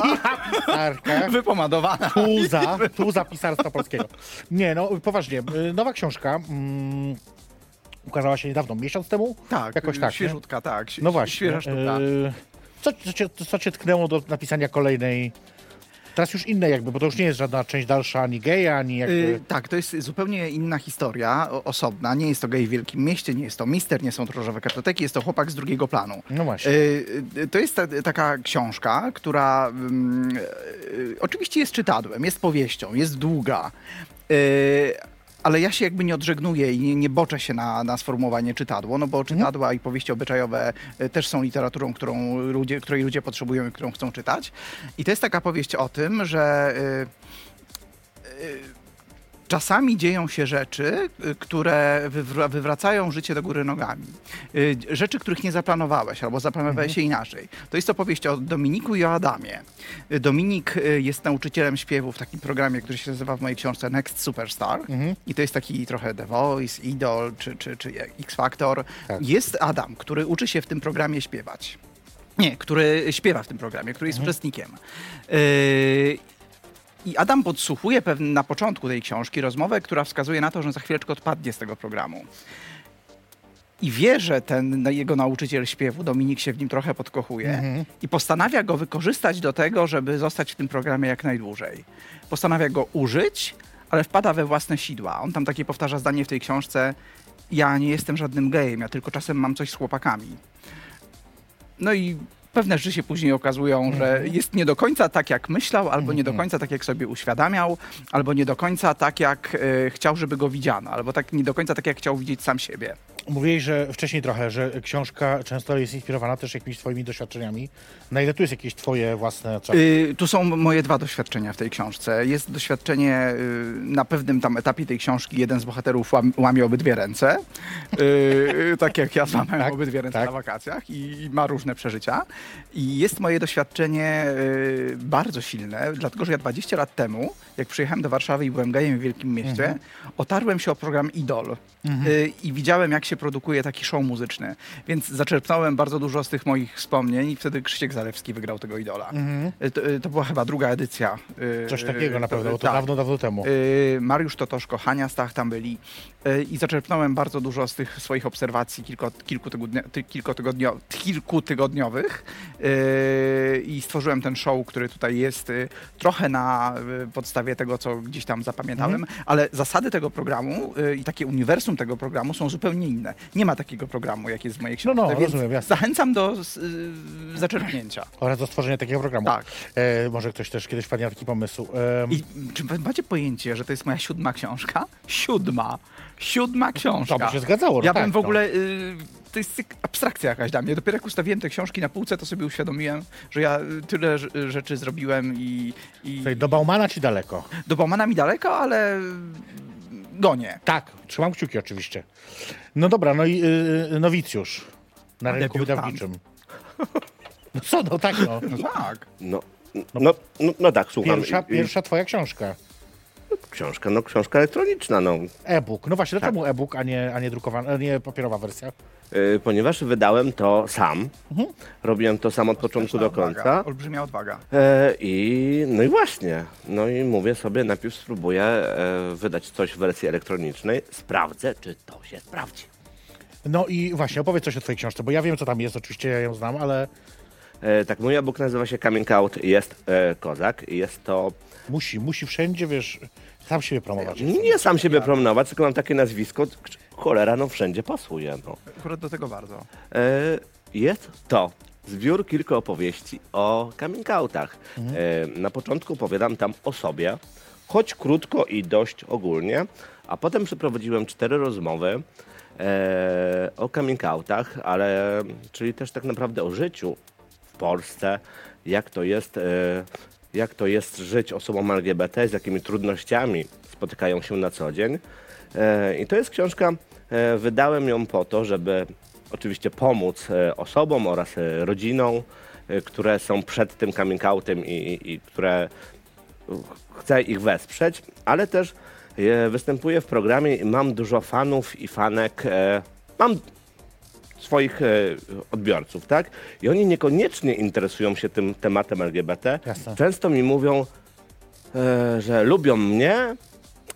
Speaker 2: Pisarka,
Speaker 4: wypomadowana.
Speaker 2: tuza, tuza pisarstwa polskiego. Nie, no poważnie, y, nowa książka mm, ukazała się niedawno, miesiąc temu?
Speaker 4: Tak,
Speaker 2: Jakoś tak, nie?
Speaker 4: świeżutka, tak. si-
Speaker 2: No właśnie.
Speaker 4: Świeża sztuka.
Speaker 2: y, Co, co, cię, co cię tknęło do napisania kolejnej, teraz już innej jakby, bo to już nie jest żadna część dalsza, ani geja, ani jakby...
Speaker 4: Y, tak, to jest zupełnie inna historia, o, osobna. Nie jest to gej w Wielkim Mieście, nie jest to mister, nie są to różowe kartoteki, jest to chłopak z drugiego planu.
Speaker 2: No właśnie.
Speaker 4: Y, y, to jest ta, taka książka, która mm, y, oczywiście jest czytadłem, jest powieścią, jest długa. Y, ale ja się jakby nie odżegnuję i nie, nie boczę się na, na sformułowanie czytadło, no bo czytadła
Speaker 2: Mhm.
Speaker 4: i powieści obyczajowe y, też są literaturą, którą ludzie, której ludzie potrzebują i którą chcą czytać. I to jest taka powieść o tym, że y, Czasami dzieją się rzeczy, y, które wywr- wywracają życie do góry nogami. Y, Rzeczy, których nie zaplanowałeś, albo zaplanowałeś je inaczej. To jest to powieść o Dominiku i o Adamie. Y, Dominik y, jest nauczycielem śpiewu w takim programie, który się nazywa w mojej książce Next Superstar. I to jest taki trochę The Voice, Idol czy, czy, czy X Factor.
Speaker 2: Tak.
Speaker 4: Jest Adam, który uczy się w tym programie śpiewać. Nie, który śpiewa w tym programie, który jest uczestnikiem. Y, i Adam podsłuchuje pewne, na początku tej książki rozmowę, która wskazuje na to, że za chwileczkę odpadnie z tego programu. I wie, że ten no, jego nauczyciel śpiewu, Dominik, się w nim trochę podkochuje i postanawia go wykorzystać do tego, żeby zostać w tym programie jak najdłużej. Postanawia go użyć, ale wpada we własne sidła. On tam takie powtarza zdanie w tej książce: Ja nie jestem żadnym gejem, ja tylko czasem mam coś z chłopakami. No i pewne rzeczy się później okazują, że jest nie do końca tak, jak myślał, albo nie do końca tak, jak sobie uświadamiał, albo nie do końca tak, jak e, chciał, żeby go widziano, albo tak nie do końca tak, jak chciał widzieć sam siebie.
Speaker 2: Mówiłeś, że wcześniej trochę, że książka często jest inspirowana też jakimiś twoimi doświadczeniami. Na ile tu jest jakieś twoje własne... czary?
Speaker 4: Y, tu są moje dwa doświadczenia w tej książce. Jest doświadczenie y, na pewnym tam etapie tej książki. Jeden z bohaterów łam, łamie obydwie ręce. Y, tak jak ja złamałem obydwie ręce
Speaker 2: tak.
Speaker 4: na wakacjach i, i ma różne przeżycia. I jest moje doświadczenie y, bardzo silne, dlatego że ja 20 lat temu, jak przyjechałem do Warszawy i byłem gejem w Wielkim Mieście,
Speaker 2: Mhm.
Speaker 4: otarłem się o program Idol y, i widziałem, jak się produkuje taki show muzyczny. Więc zaczerpnąłem bardzo dużo z tych moich wspomnień i wtedy Krzysiek Zalewski wygrał tego Idola. Y, To, y, to była chyba druga edycja. y,
Speaker 2: Mhm. Coś takiego
Speaker 4: y,
Speaker 2: na pewno, bo to
Speaker 4: tak.
Speaker 2: dawno, dawno temu.
Speaker 4: Y, Mariusz Totoszko, Hania Stach tam byli y, i zaczerpnąłem bardzo dużo z tych swoich obserwacji kilko, kilkutygodnia, ty, kilkutygodnio, kilkutygodniowych y, i stworzyłem ten show, który tutaj jest y, trochę na y, podstawie tego, co gdzieś tam zapamiętałem,
Speaker 2: Mhm.
Speaker 4: ale zasady tego programu y, i takie uniwersum tego programu są zupełnie inne. Nie ma takiego programu, jak jest w
Speaker 2: No,
Speaker 4: mojej książce,
Speaker 2: no,
Speaker 4: więc
Speaker 2: rozumiem, jasne.
Speaker 4: zachęcam do y, zaczerpnięcia.
Speaker 2: Oraz do stworzenia takiego programu.
Speaker 4: Tak.
Speaker 2: E, może ktoś też kiedyś wpadnie na taki pomysł. Em,
Speaker 4: I czy wy macie pojęcie, że to jest moja siódma książka? Siódma. Siódma książka.
Speaker 2: No to by się zgadzało, że
Speaker 4: Ja
Speaker 2: tak,
Speaker 4: bym w
Speaker 2: no.
Speaker 4: ogóle... y, to jest jak abstrakcja jakaś dla mnie. Dopiero jak ustawiłem te książki na półce, to sobie uświadomiłem, że ja y, tyle rz- rzeczy zrobiłem i... i
Speaker 2: Słuchaj, Do Baumana ci daleko.
Speaker 4: do Baumana mi daleko, ale gonię.
Speaker 2: Tak, trzymam kciuki oczywiście. No dobra, no i y, nowicjusz na rynku
Speaker 4: Debiutant.
Speaker 2: wydawniczym. No co, no tak no.
Speaker 4: No tak.
Speaker 3: No, no, no, no tak, słucham.
Speaker 2: Pierwsza,
Speaker 3: I- i-
Speaker 2: pierwsza twoja książka.
Speaker 3: Książka, no książka elektroniczna, no.
Speaker 2: E-book. No właśnie,
Speaker 3: Tak.
Speaker 2: dlaczego e-book, a nie, a nie drukowana, a nie papierowa wersja?
Speaker 3: Y, Ponieważ wydałem to sam, robiłem to sam od początku do końca.
Speaker 4: Odwaga. Olbrzymia odwaga.
Speaker 3: E, I no i właśnie, no i mówię sobie, najpierw spróbuję e, wydać coś w wersji elektronicznej, sprawdzę, czy to się sprawdzi.
Speaker 2: No i właśnie, opowiedz coś o twojej książce, bo ja wiem, co tam jest, oczywiście ja ją znam, ale
Speaker 3: E, tak, mój e-book nazywa się Coming Out, jest e, kozak, jest to
Speaker 2: musi, musi wszędzie, wiesz, sam siebie promować.
Speaker 3: nie sam siebie promować, tylko mam takie nazwisko, c- cholera, no wszędzie pasuje, no.
Speaker 4: Akurat do tego bardzo.
Speaker 3: E, jest to zbiór kilku opowieści o coming outach. E, na początku opowiadam tam o sobie, choć krótko i dość ogólnie, a potem przeprowadziłem cztery rozmowy e, o coming outach, ale czyli też tak naprawdę o życiu w Polsce, jak to jest, e, jak to jest żyć osobom LGBT, z jakimi trudnościami spotykają się na co dzień. E, I to jest książka, e, wydałem ją po to, żeby oczywiście pomóc e, osobom oraz e, rodzinom, e, które są przed tym coming outem i, i, i które chcę ich wesprzeć, ale też e, występuję w programie i mam dużo fanów i fanek. E, mam swoich e, odbiorców, tak? I oni niekoniecznie interesują się tym tematem LGBT.
Speaker 2: Jasne.
Speaker 3: Często mi mówią, e, że lubią mnie,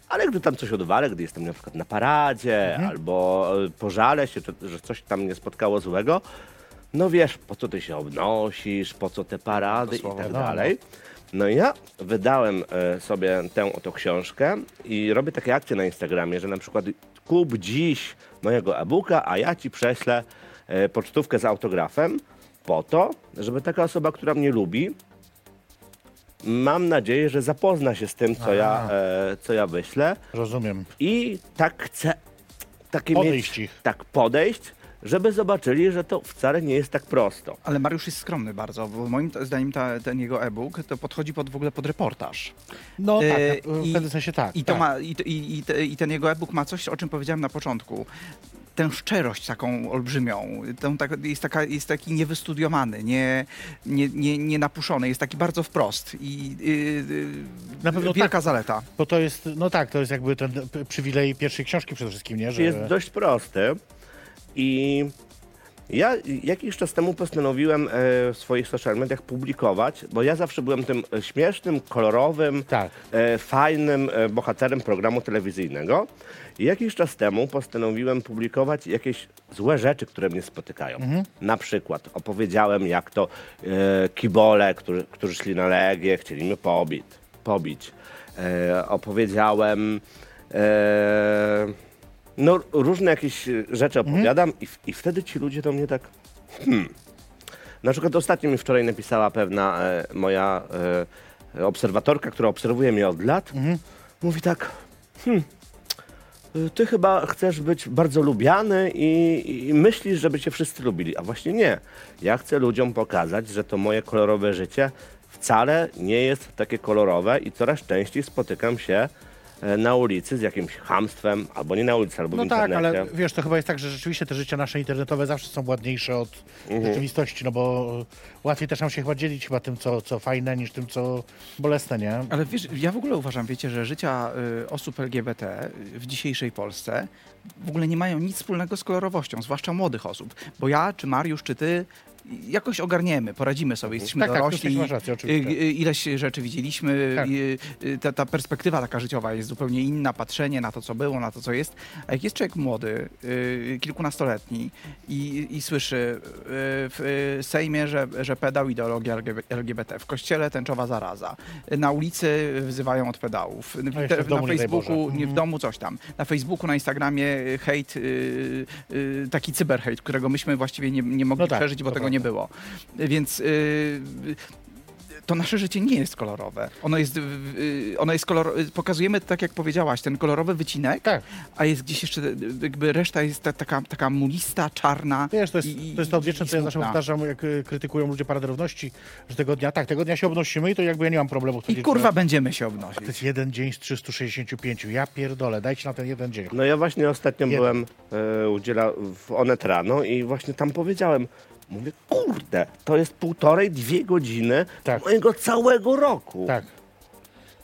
Speaker 3: ale gdy tam coś odwalę, gdy jestem na przykład na paradzie, albo e, pożalę się, czy, że coś tam mnie spotkało złego, no wiesz, po co ty się obnosisz, po co te parady i tak
Speaker 2: no, no.
Speaker 3: dalej. No i ja wydałem e, sobie tę oto książkę i robię takie akcje na Instagramie, że na przykład kup dziś mojego e-booka, a ja ci prześlę e, pocztówkę z autografem po to, żeby taka osoba, która mnie lubi, mam nadzieję, że zapozna się z tym, co, ja, e, co ja wyślę
Speaker 2: Rozumiem.
Speaker 3: i tak chcę takie
Speaker 2: Podejść
Speaker 3: mieć,
Speaker 2: ich.
Speaker 3: tak podejść, żeby zobaczyli, że to wcale nie jest tak prosto.
Speaker 4: Ale Mariusz jest skromny bardzo, bo moim t- zdaniem ta, ten jego e-book to podchodzi pod, w ogóle pod reportaż.
Speaker 2: No tak,
Speaker 4: E,
Speaker 2: no, w
Speaker 4: i-
Speaker 2: pewnym sensie tak.
Speaker 4: I, to
Speaker 2: tak.
Speaker 4: ma, i, to- i, i, te- I ten jego e-book ma coś, o czym powiedziałem na początku. Tę szczerość taką olbrzymią, tę, tak, jest, taka, jest taki niewystudiowany, nie, nie, nie, nie napuszony, jest taki bardzo wprost i y, y,
Speaker 2: Na pewno
Speaker 4: wielka zaleta.
Speaker 2: Bo to jest, no tak, to jest jakby ten p- przywilej pierwszej książki przede wszystkim, nie? Że...
Speaker 3: Jest dość prosty i ja jakiś czas temu postanowiłem e, w swoich social mediach publikować, bo ja zawsze byłem tym e, śmiesznym, kolorowym,
Speaker 2: Tak.
Speaker 3: e, fajnym e, bohaterem programu telewizyjnego. I jakiś czas temu postanowiłem publikować jakieś złe rzeczy, które mnie spotykają.
Speaker 2: Mhm.
Speaker 3: Na przykład opowiedziałem, jak to e, kibole, którzy, którzy szli na Legię, chcieli mnie pobić. pobić. E, opowiedziałem... E, no, różne jakieś e, rzeczy
Speaker 2: Mhm.
Speaker 3: opowiadam i, w- i wtedy ci ludzie do mnie tak... Na przykład ostatnio mi wczoraj napisała pewna e, moja
Speaker 2: Mhm.
Speaker 3: e, obserwatorka, która obserwuje mnie od lat. Mówi tak, hmm, ty chyba chcesz być bardzo lubiany i, i myślisz, żeby cię wszyscy lubili. A właśnie nie. Ja chcę ludziom pokazać, że to moje kolorowe życie wcale nie jest takie kolorowe i coraz częściej spotykam się e, na ulicy z jakimś chamstwem, albo nie na ulicy, albo w
Speaker 2: No tak,
Speaker 3: internecie.
Speaker 2: ale wiesz, to chyba jest tak, że rzeczywiście te życia nasze internetowe zawsze są ładniejsze od rzeczywistości, no bo e, łatwiej też nam się chyba dzielić chyba tym, co, co fajne, niż tym, co bolesne, nie?
Speaker 4: Ale wiesz, ja w ogóle uważam, wiecie, że życia y, osób LGBT w dzisiejszej Polsce w ogóle nie mają nic wspólnego z kolorowością, zwłaszcza młodych osób. Bo ja, czy Mariusz, czy ty jakoś ogarniemy, poradzimy sobie, jesteśmy
Speaker 2: Tak, tak,
Speaker 4: dorośli,
Speaker 2: tutaj masz rację,
Speaker 4: y,
Speaker 2: oczywiście.
Speaker 4: y, ileś rzeczy widzieliśmy,
Speaker 2: Tak.
Speaker 4: y, y, ta, ta perspektywa taka życiowa jest zupełnie inna, patrzenie na to, co było, na to, co jest. A jak jest człowiek młody, y, kilkunastoletni i, i słyszy y, w y, Sejmie, że, że pedał ideologia LGB- LGBT, w kościele tęczowa zaraza, na ulicy wzywają od pedałów,
Speaker 2: A jeszcze w domu,
Speaker 4: na
Speaker 2: nie daj
Speaker 4: Facebooku,
Speaker 2: Boże. Mhm.
Speaker 4: nie w domu coś tam, na Facebooku, na Instagramie hejt, y, y, taki cyberhejt, którego myśmy właściwie nie, nie mogli
Speaker 2: No tak,
Speaker 4: przeżyć, bo
Speaker 2: to
Speaker 4: tego
Speaker 2: prawda.
Speaker 4: nie było. Więc... y, to nasze życie nie jest kolorowe. Ono jest, w- w- ono jest kolor... Pokazujemy, tak jak powiedziałaś, ten kolorowy wycinek,
Speaker 2: Tak.
Speaker 4: a jest gdzieś jeszcze, y, jakby reszta jest ta, taka, taka mulista, czarna.
Speaker 2: Wiesz, to jest,
Speaker 4: i- i-
Speaker 2: to, jest to odwieczne,
Speaker 4: i
Speaker 2: co ja zawsze
Speaker 4: smutna.
Speaker 2: powtarzam, jak y, krytykują ludzie Paradę Równości, że tego dnia, tak, tego dnia się obnosimy i to jakby ja nie mam problemu.
Speaker 4: I kurwa będziemy się obnosić.
Speaker 2: To jest jeden dzień z 365, ja pierdolę, dajcie na ten jeden dzień.
Speaker 3: No ja właśnie ostatnio
Speaker 2: Jeden.
Speaker 3: byłem e, udziela w Onet rano i właśnie tam powiedziałem, mówię, kurde, to jest półtorej, dwie godziny
Speaker 2: Tak.
Speaker 3: mojego całego roku.
Speaker 2: Tak.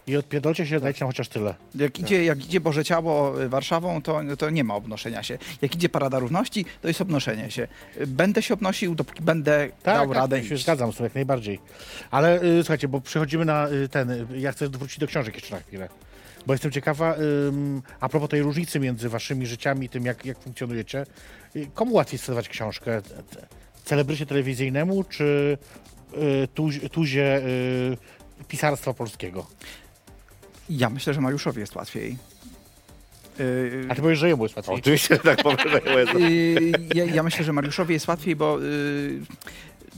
Speaker 2: I odpierdolcie się, dajcie nam chociaż tyle.
Speaker 4: Jak idzie, jak idzie Boże Ciało y, Warszawą, to, to nie ma obnoszenia się. Jak idzie Parada Równości, to jest obnoszenie się. Y, Będę się obnosił, dopóki będę dał radę
Speaker 2: ja Tak, się
Speaker 4: iść.
Speaker 2: zgadzam z tym jak najbardziej. Ale y, słuchajcie, bo przechodzimy na y, ten, y, ja chcę wrócić do książek jeszcze na chwilę. Bo jestem ciekawa, ym, a propos tej różnicy między waszymi życiami i tym, jak, jak funkcjonujecie, y, komu łatwiej sprzedawać książkę? Te- te- Celebrycie telewizyjnemu, czy y, tuż, tuzie y, pisarstwa polskiego?
Speaker 4: Ja myślę, że Mariuszowi jest łatwiej. Y,
Speaker 2: A ty powiesz, że jemu jest łatwiej.
Speaker 3: Oczywiście że tak powiedziałem.
Speaker 4: Y, ja, ja myślę, że Mariuszowi jest łatwiej, bo y,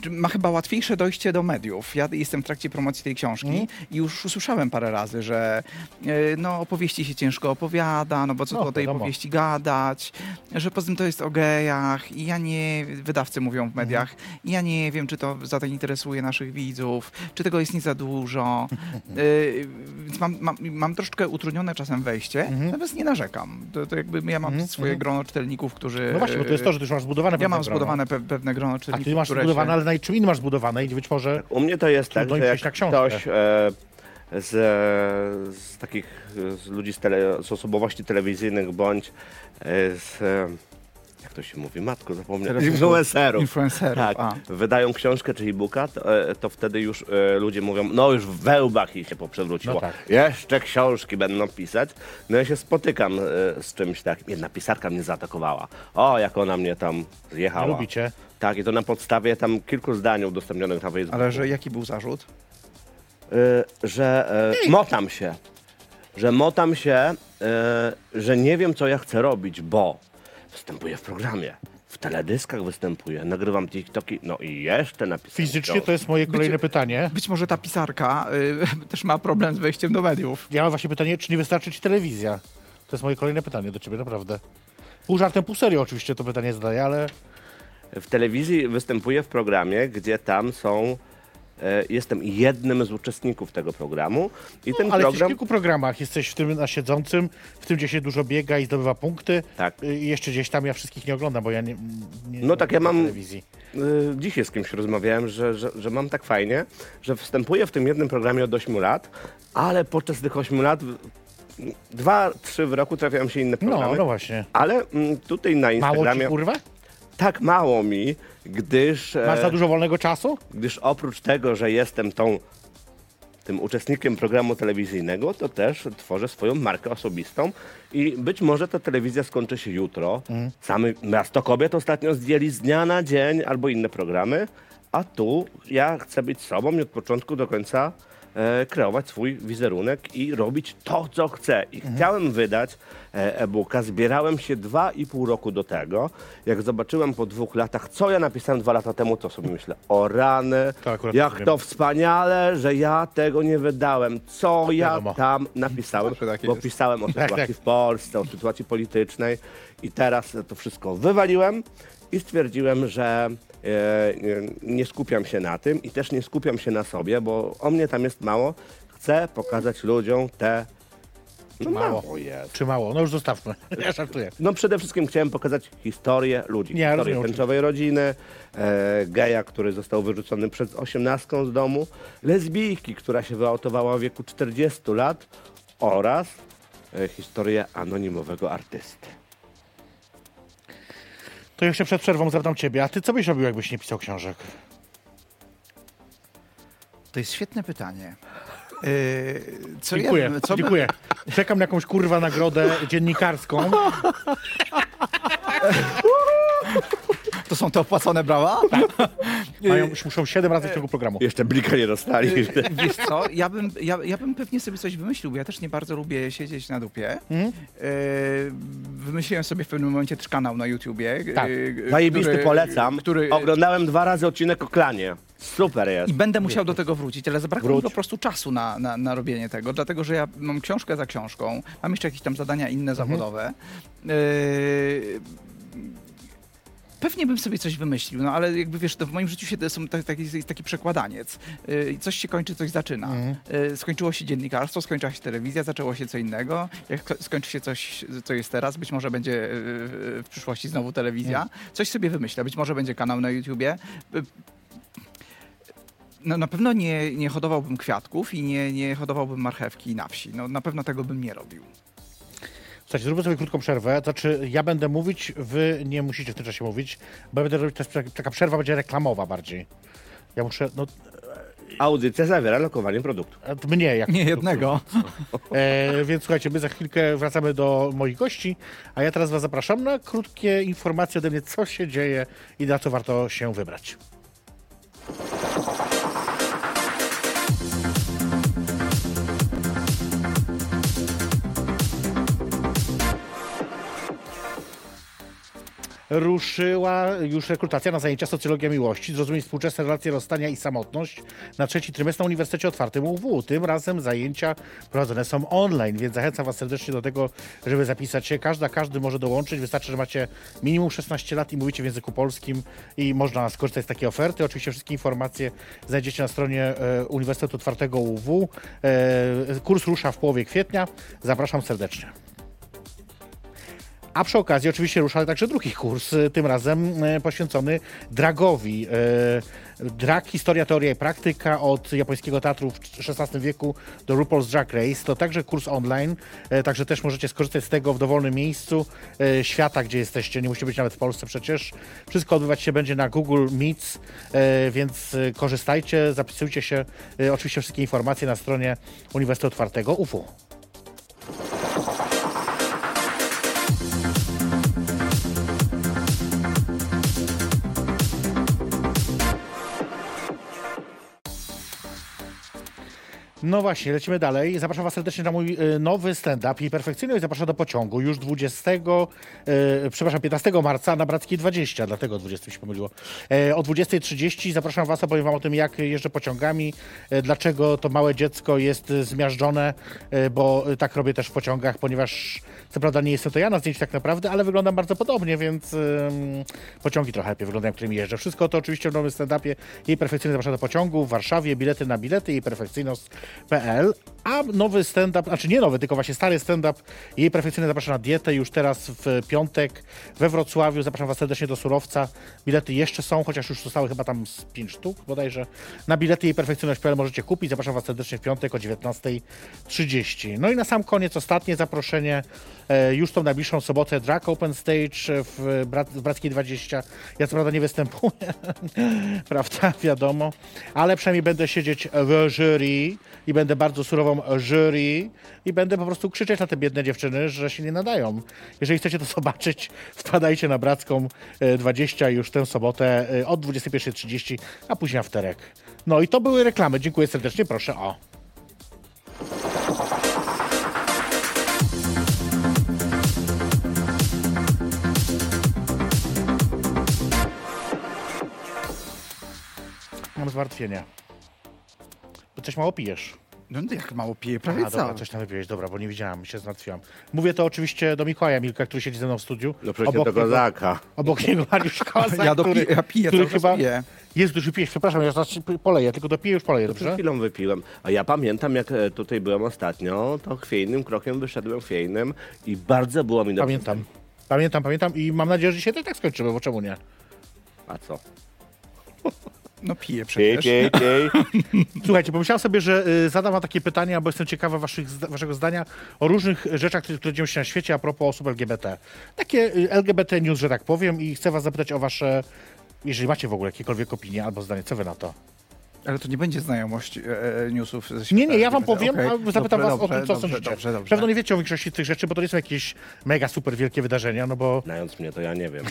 Speaker 4: czy ma chyba łatwiejsze dojście do mediów. Ja jestem w trakcie promocji tej książki
Speaker 2: Mm.
Speaker 4: i już usłyszałem parę razy, że y, no, opowieści się ciężko opowiada, no bo co
Speaker 2: No,
Speaker 4: tu o tej
Speaker 2: wiadomo.
Speaker 4: opowieści gadać, że poza tym to jest o gejach i ja nie, wydawcy mówią w
Speaker 2: Mhm.
Speaker 4: mediach, i ja nie wiem, czy to zainteresuje naszych widzów, czy tego jest nie za dużo. Y, Więc mam, mam, mam troszeczkę utrudnione czasem wejście,
Speaker 2: Mhm.
Speaker 4: natomiast nie narzekam. To, to jakby ja mam swoje grono czytelników, którzy... e,
Speaker 2: No właśnie, bo to jest to, że ty już masz zbudowane
Speaker 4: Ja
Speaker 2: pewne
Speaker 4: mam
Speaker 2: grono.
Speaker 4: zbudowane pe- pewne grono
Speaker 2: A
Speaker 4: czytelników,
Speaker 2: ty masz
Speaker 4: które
Speaker 2: zbudowane,
Speaker 4: się...
Speaker 2: ale na czym innym masz zbudowane i być może...
Speaker 3: U mnie to jest tak,
Speaker 2: Trudno im
Speaker 3: że jak
Speaker 2: przejść na książkę.
Speaker 3: ktoś e, z, e, z takich e, z ludzi z, tele, z osobowości telewizyjnych bądź e, z, e, jak to się mówi, matko zapomniałem,
Speaker 4: Telewizor-
Speaker 3: influencerów.
Speaker 4: Influencerów,
Speaker 3: Tak,
Speaker 4: a.
Speaker 3: wydają książkę czy e-booka, to, e, to wtedy już e, ludzie mówią, no już w wełbach jej się poprzewróciło.
Speaker 2: No tak.
Speaker 3: Jeszcze książki będą pisać. No ja się spotykam e, z czymś takim. Jedna pisarka mnie zaatakowała. O, jak ona mnie tam zjechała.
Speaker 2: Nie lubicie.
Speaker 3: Tak, i to na podstawie tam kilku zdań udostępnionych na Facebooku.
Speaker 4: Ale że jaki był zarzut?
Speaker 3: Y, że y, motam się. Że motam się, y, że nie wiem, co ja chcę robić, bo występuję w programie, w teledyskach występuję, nagrywam TikToki, no i jeszcze napisałem.
Speaker 2: Fizycznie to jest moje kolejne pytanie.
Speaker 4: Być może ta pisarka y, też ma problem z wejściem do mediów.
Speaker 2: Ja mam właśnie pytanie, czy nie wystarczy ci telewizja? To jest moje kolejne pytanie do ciebie, naprawdę. Pół żartem, pół serio oczywiście to pytanie zadaję, ale
Speaker 3: W telewizji występuję w programie, gdzie tam są. y, Jestem jednym z uczestników tego programu i ten
Speaker 2: No, ale jesteś w
Speaker 3: program.
Speaker 2: kilku programach. Jesteś w tym na siedzącym, w tym, gdzie się dużo biega i zdobywa punkty.
Speaker 3: Tak.
Speaker 2: Y, I jeszcze gdzieś tam ja wszystkich nie oglądam, bo ja nie, nie
Speaker 3: No tak, ja mam-
Speaker 2: telewizji.
Speaker 3: Y, Dzisiaj z kimś rozmawiałem, że, że, że mam tak fajnie, że wstępuję w tym jednym programie od 8 lat, ale podczas tych 8 lat, w- dwa, trzy w roku trafiają się inne
Speaker 2: No,
Speaker 3: programy.
Speaker 2: no właśnie.
Speaker 3: Ale mm, tutaj na
Speaker 2: Mało ci
Speaker 3: Instagramie
Speaker 2: kurwa?
Speaker 3: tak mało mi, gdyż, e,
Speaker 2: Masz za dużo wolnego czasu?
Speaker 3: gdyż oprócz tego, że jestem tą tym uczestnikiem programu telewizyjnego, to też tworzę swoją markę osobistą i być może ta telewizja skończy się jutro. Same Miasto Kobiet ostatnio zdjęli z dnia na dzień albo inne programy, a tu ja chcę być sobą i od początku do końca e, kreować swój wizerunek i robić to, co chce. I
Speaker 2: Mhm.
Speaker 3: chciałem wydać e, e-booka, zbierałem się dwa i pół roku do tego. Jak zobaczyłem po dwóch latach, co ja napisałem dwa lata temu, to sobie myślę, o rany,
Speaker 2: To akurat
Speaker 3: jak
Speaker 2: rozumiem.
Speaker 3: to wspaniale, że ja tego nie wydałem. Co ja
Speaker 2: Tak Wiadomo.
Speaker 3: tam napisałem,
Speaker 4: Zawsze tak
Speaker 3: bo
Speaker 4: jest.
Speaker 3: pisałem o sytuacji
Speaker 2: tak.
Speaker 3: w Polsce, o sytuacji politycznej i teraz to wszystko wywaliłem i stwierdziłem, że e, e, nie skupiam się na tym i też nie skupiam się na sobie, bo o mnie tam jest mało. Chcę pokazać ludziom te... No
Speaker 2: Mało.
Speaker 3: mało jest.
Speaker 2: Czy mało? No już zostawmy. Ja żartuję.
Speaker 3: No przede wszystkim chciałem pokazać historię ludzi.
Speaker 2: Nie,
Speaker 3: historię
Speaker 2: rozumiem,
Speaker 3: tęczowej rodziny, e, geja, który został wyrzucony przed 18 z domu, lesbijki, która się wyautowała w wieku 40 lat oraz e, historię anonimowego artysty.
Speaker 2: To jeszcze przed przerwą zapytam ciebie, a ty co byś robił, jakbyś nie pisał książek?
Speaker 4: To jest świetne pytanie. Yy, co ja-
Speaker 2: Dziękuję,
Speaker 4: co by-
Speaker 2: dziękuję. Czekam na jakąś kurwa nagrodę dziennikarską.
Speaker 4: To są te opłacone brawa? Y,
Speaker 2: Mają, muszą 7 razy w ciągu programu.
Speaker 3: Jeszcze blika nie dostali.
Speaker 4: Wiesz co, ja bym, ja, ja bym pewnie sobie coś wymyślił, bo ja też nie bardzo lubię siedzieć na dupie. Yy, wymyśliłem sobie w pewnym momencie też kanał na YouTubie.
Speaker 2: Tak.
Speaker 4: yy,
Speaker 3: Zajebisty
Speaker 4: który-
Speaker 3: polecam.
Speaker 4: Który,
Speaker 3: Oglądałem dwa razy odcinek o klanie. Super jest.
Speaker 4: I będę musiał do tego wrócić, ale zabrakło mi
Speaker 3: Wróć.
Speaker 4: po prostu czasu na, na, na robienie tego, dlatego że ja mam książkę za książką, mam jeszcze jakieś tam zadania inne
Speaker 3: Mhm.
Speaker 4: zawodowe. Yy, Pewnie bym sobie coś wymyślił, no ale jakby wiesz, to w moim życiu się to są ta- taki, jest taki przekładaniec. Yy, coś się kończy, coś zaczyna.
Speaker 3: Mhm.
Speaker 4: Yy, skończyło się dziennikarstwo, skończyła się telewizja, zaczęło się co innego. Jak ko- skończy się coś, co jest teraz, być może będzie yy, w przyszłości znowu telewizja. Coś sobie wymyślę, być może będzie kanał na YouTubie. Yy, no, na pewno nie, nie hodowałbym kwiatków i nie, nie hodowałbym marchewki na wsi. No, na pewno tego bym nie robił.
Speaker 2: Słuchajcie, zróbmy sobie krótką przerwę. Znaczy, ja będę mówić, wy nie musicie w tym czasie mówić, bo ja będę robić też taka przerwa będzie reklamowa bardziej. Ja muszę, no
Speaker 3: Audycja zawiera lokowanie produktu.
Speaker 2: mnie jak
Speaker 4: Nie jednego.
Speaker 2: E, więc słuchajcie, my za chwilkę wracamy do moich gości, a ja teraz was zapraszam na krótkie informacje ode mnie, co się dzieje i na co warto się wybrać. Ruszyła już rekrutacja na zajęcia Socjologia Miłości, zrozumieć współczesne relacje rozstania i samotność na trzeci trymestr na Uniwersytecie Otwartym UW. Tym razem zajęcia prowadzone są online, więc zachęcam Was serdecznie do tego, żeby zapisać się. Każda, każdy może dołączyć. Wystarczy, że macie minimum 16 lat i mówicie w języku polskim i można skorzystać z takiej oferty. Oczywiście wszystkie informacje znajdziecie na stronie e, Uniwersytetu Otwartego UW. E, kurs rusza w połowie kwietnia. Zapraszam serdecznie. A przy okazji oczywiście rusza także drugi kurs, y, tym razem y, poświęcony dragowi. Y, Drag, historia, teoria i praktyka od japońskiego teatru w XVI wieku do RuPaul's Drag Race. To także kurs online, y, także też możecie skorzystać z tego w dowolnym miejscu y, świata, gdzie jesteście. Nie musicie być nawet w Polsce przecież. Wszystko odbywać się będzie na Google Meets, y, więc y, korzystajcie, zapisujcie się. Y, Oczywiście wszystkie informacje na stronie Uniwersytetu Otwartego UFU. No właśnie, lecimy dalej. Zapraszam Was serdecznie na mój e, nowy stand-up i perfekcyjność zapraszam do pociągu już 20, e, przepraszam, 15 marca na Brackiej 20, dlatego 20 mi się pomyliło. E, o 20.30 zapraszam Was, opowiem Wam o tym, jak jeżdżę pociągami, e, dlaczego to małe dziecko jest e, zmiażdżone, e, bo e, tak robię też w pociągach, ponieważ co prawda nie jestem to ja na zdjęciu tak naprawdę, ale wyglądam bardzo podobnie, więc em, pociągi trochę lepiej wyglądają, którymi jeżdżę. Wszystko to oczywiście w nowym stand-upie jej perfekcyjny zapraszam do pociągu w Warszawie, bilety na bilety jej perfekcyjność.pl, a nowy stand-up, znaczy nie nowy, tylko właśnie stary stand-up jej perfekcyjny zapraszam na dietę już teraz w piątek we Wrocławiu. Zapraszam Was serdecznie do Surowca. Bilety jeszcze są, chociaż już zostały chyba tam z 5 sztuk bodajże. Na bilety jej perfekcyjność.pl możecie kupić. Zapraszam Was serdecznie w piątek o 19.30. No i na sam koniec ostatnie zaproszenie e, już tą najbliższą sobotę Drag Open Stage w, Brat- w Brackiej 20. Ja co prawda nie występuję, prawda, wiadomo, ale przynajmniej będę siedzieć w jury i będę bardzo surową jury i będę po prostu krzyczeć na te biedne dziewczyny, że się nie nadają. Jeżeli chcecie to zobaczyć, wpadajcie na Bracką e, 20 już tę sobotę e, od 21.30, a później afterek. No i to były reklamy. Dziękuję serdecznie, proszę o. mam zmartwienia. Bo coś mało pijesz.
Speaker 4: No to jak mało piję, prawie
Speaker 2: A, dobra,
Speaker 4: cały.
Speaker 2: coś tam wypiłeś, dobra, bo nie widziałam, się zmartwiłam. Mówię to oczywiście do Mikołaja Milka, który siedzi ze mną w studiu.
Speaker 3: No przecież do kozaka.
Speaker 2: obok niego Mariusz Kozak,
Speaker 4: Ja dopiję,
Speaker 2: który,
Speaker 4: ja piję,
Speaker 2: który
Speaker 4: cały
Speaker 2: chyba...
Speaker 4: chyba... piję.
Speaker 2: Jest już wypijesz, przepraszam, ja zaraz ci poleję, tylko dopiję już poleję,
Speaker 3: To przed
Speaker 2: dobrze?
Speaker 3: chwilą wypiłem. A ja pamiętam, jak e, tutaj byłem ostatnio, to chwiejnym krokiem wyszedłem chwiejnym i bardzo było mi dobrze.
Speaker 2: Pamiętam. Pamiętam, pamiętam i mam nadzieję, że dzisiaj to i tak skończymy, bo czemu nie?
Speaker 3: A co?
Speaker 4: No piję
Speaker 3: Piej,
Speaker 4: przecież.
Speaker 3: piej, piej.
Speaker 2: Słuchajcie, pomyślałem sobie, że y, zadam wam takie pytania, bo jestem ciekawa waszych, zda- waszego zdania o różnych y, rzeczach, które które dzieją się na świecie a propos osób LGBT. Takie y, LGBT news, że tak powiem i chcę was zapytać o wasze, jeżeli macie w ogóle jakiekolwiek opinie albo zdanie, co wy na to?
Speaker 4: Ale to nie będzie znajomość e, e, newsów ze
Speaker 2: Nie, nie, ja
Speaker 4: świata
Speaker 2: wam
Speaker 4: LGBT,
Speaker 2: powiem,
Speaker 4: okej?
Speaker 2: a zapytam
Speaker 4: Dobrze,
Speaker 2: was o
Speaker 4: dobrze,
Speaker 2: tym, co
Speaker 4: dobrze,
Speaker 2: sądzicie.
Speaker 4: Dobrze, dobrze.
Speaker 2: Pewno nie wiecie o większości tych rzeczy, bo to nie są jakieś mega super wielkie wydarzenia, no bo
Speaker 3: Znając mnie, to ja nie wiem.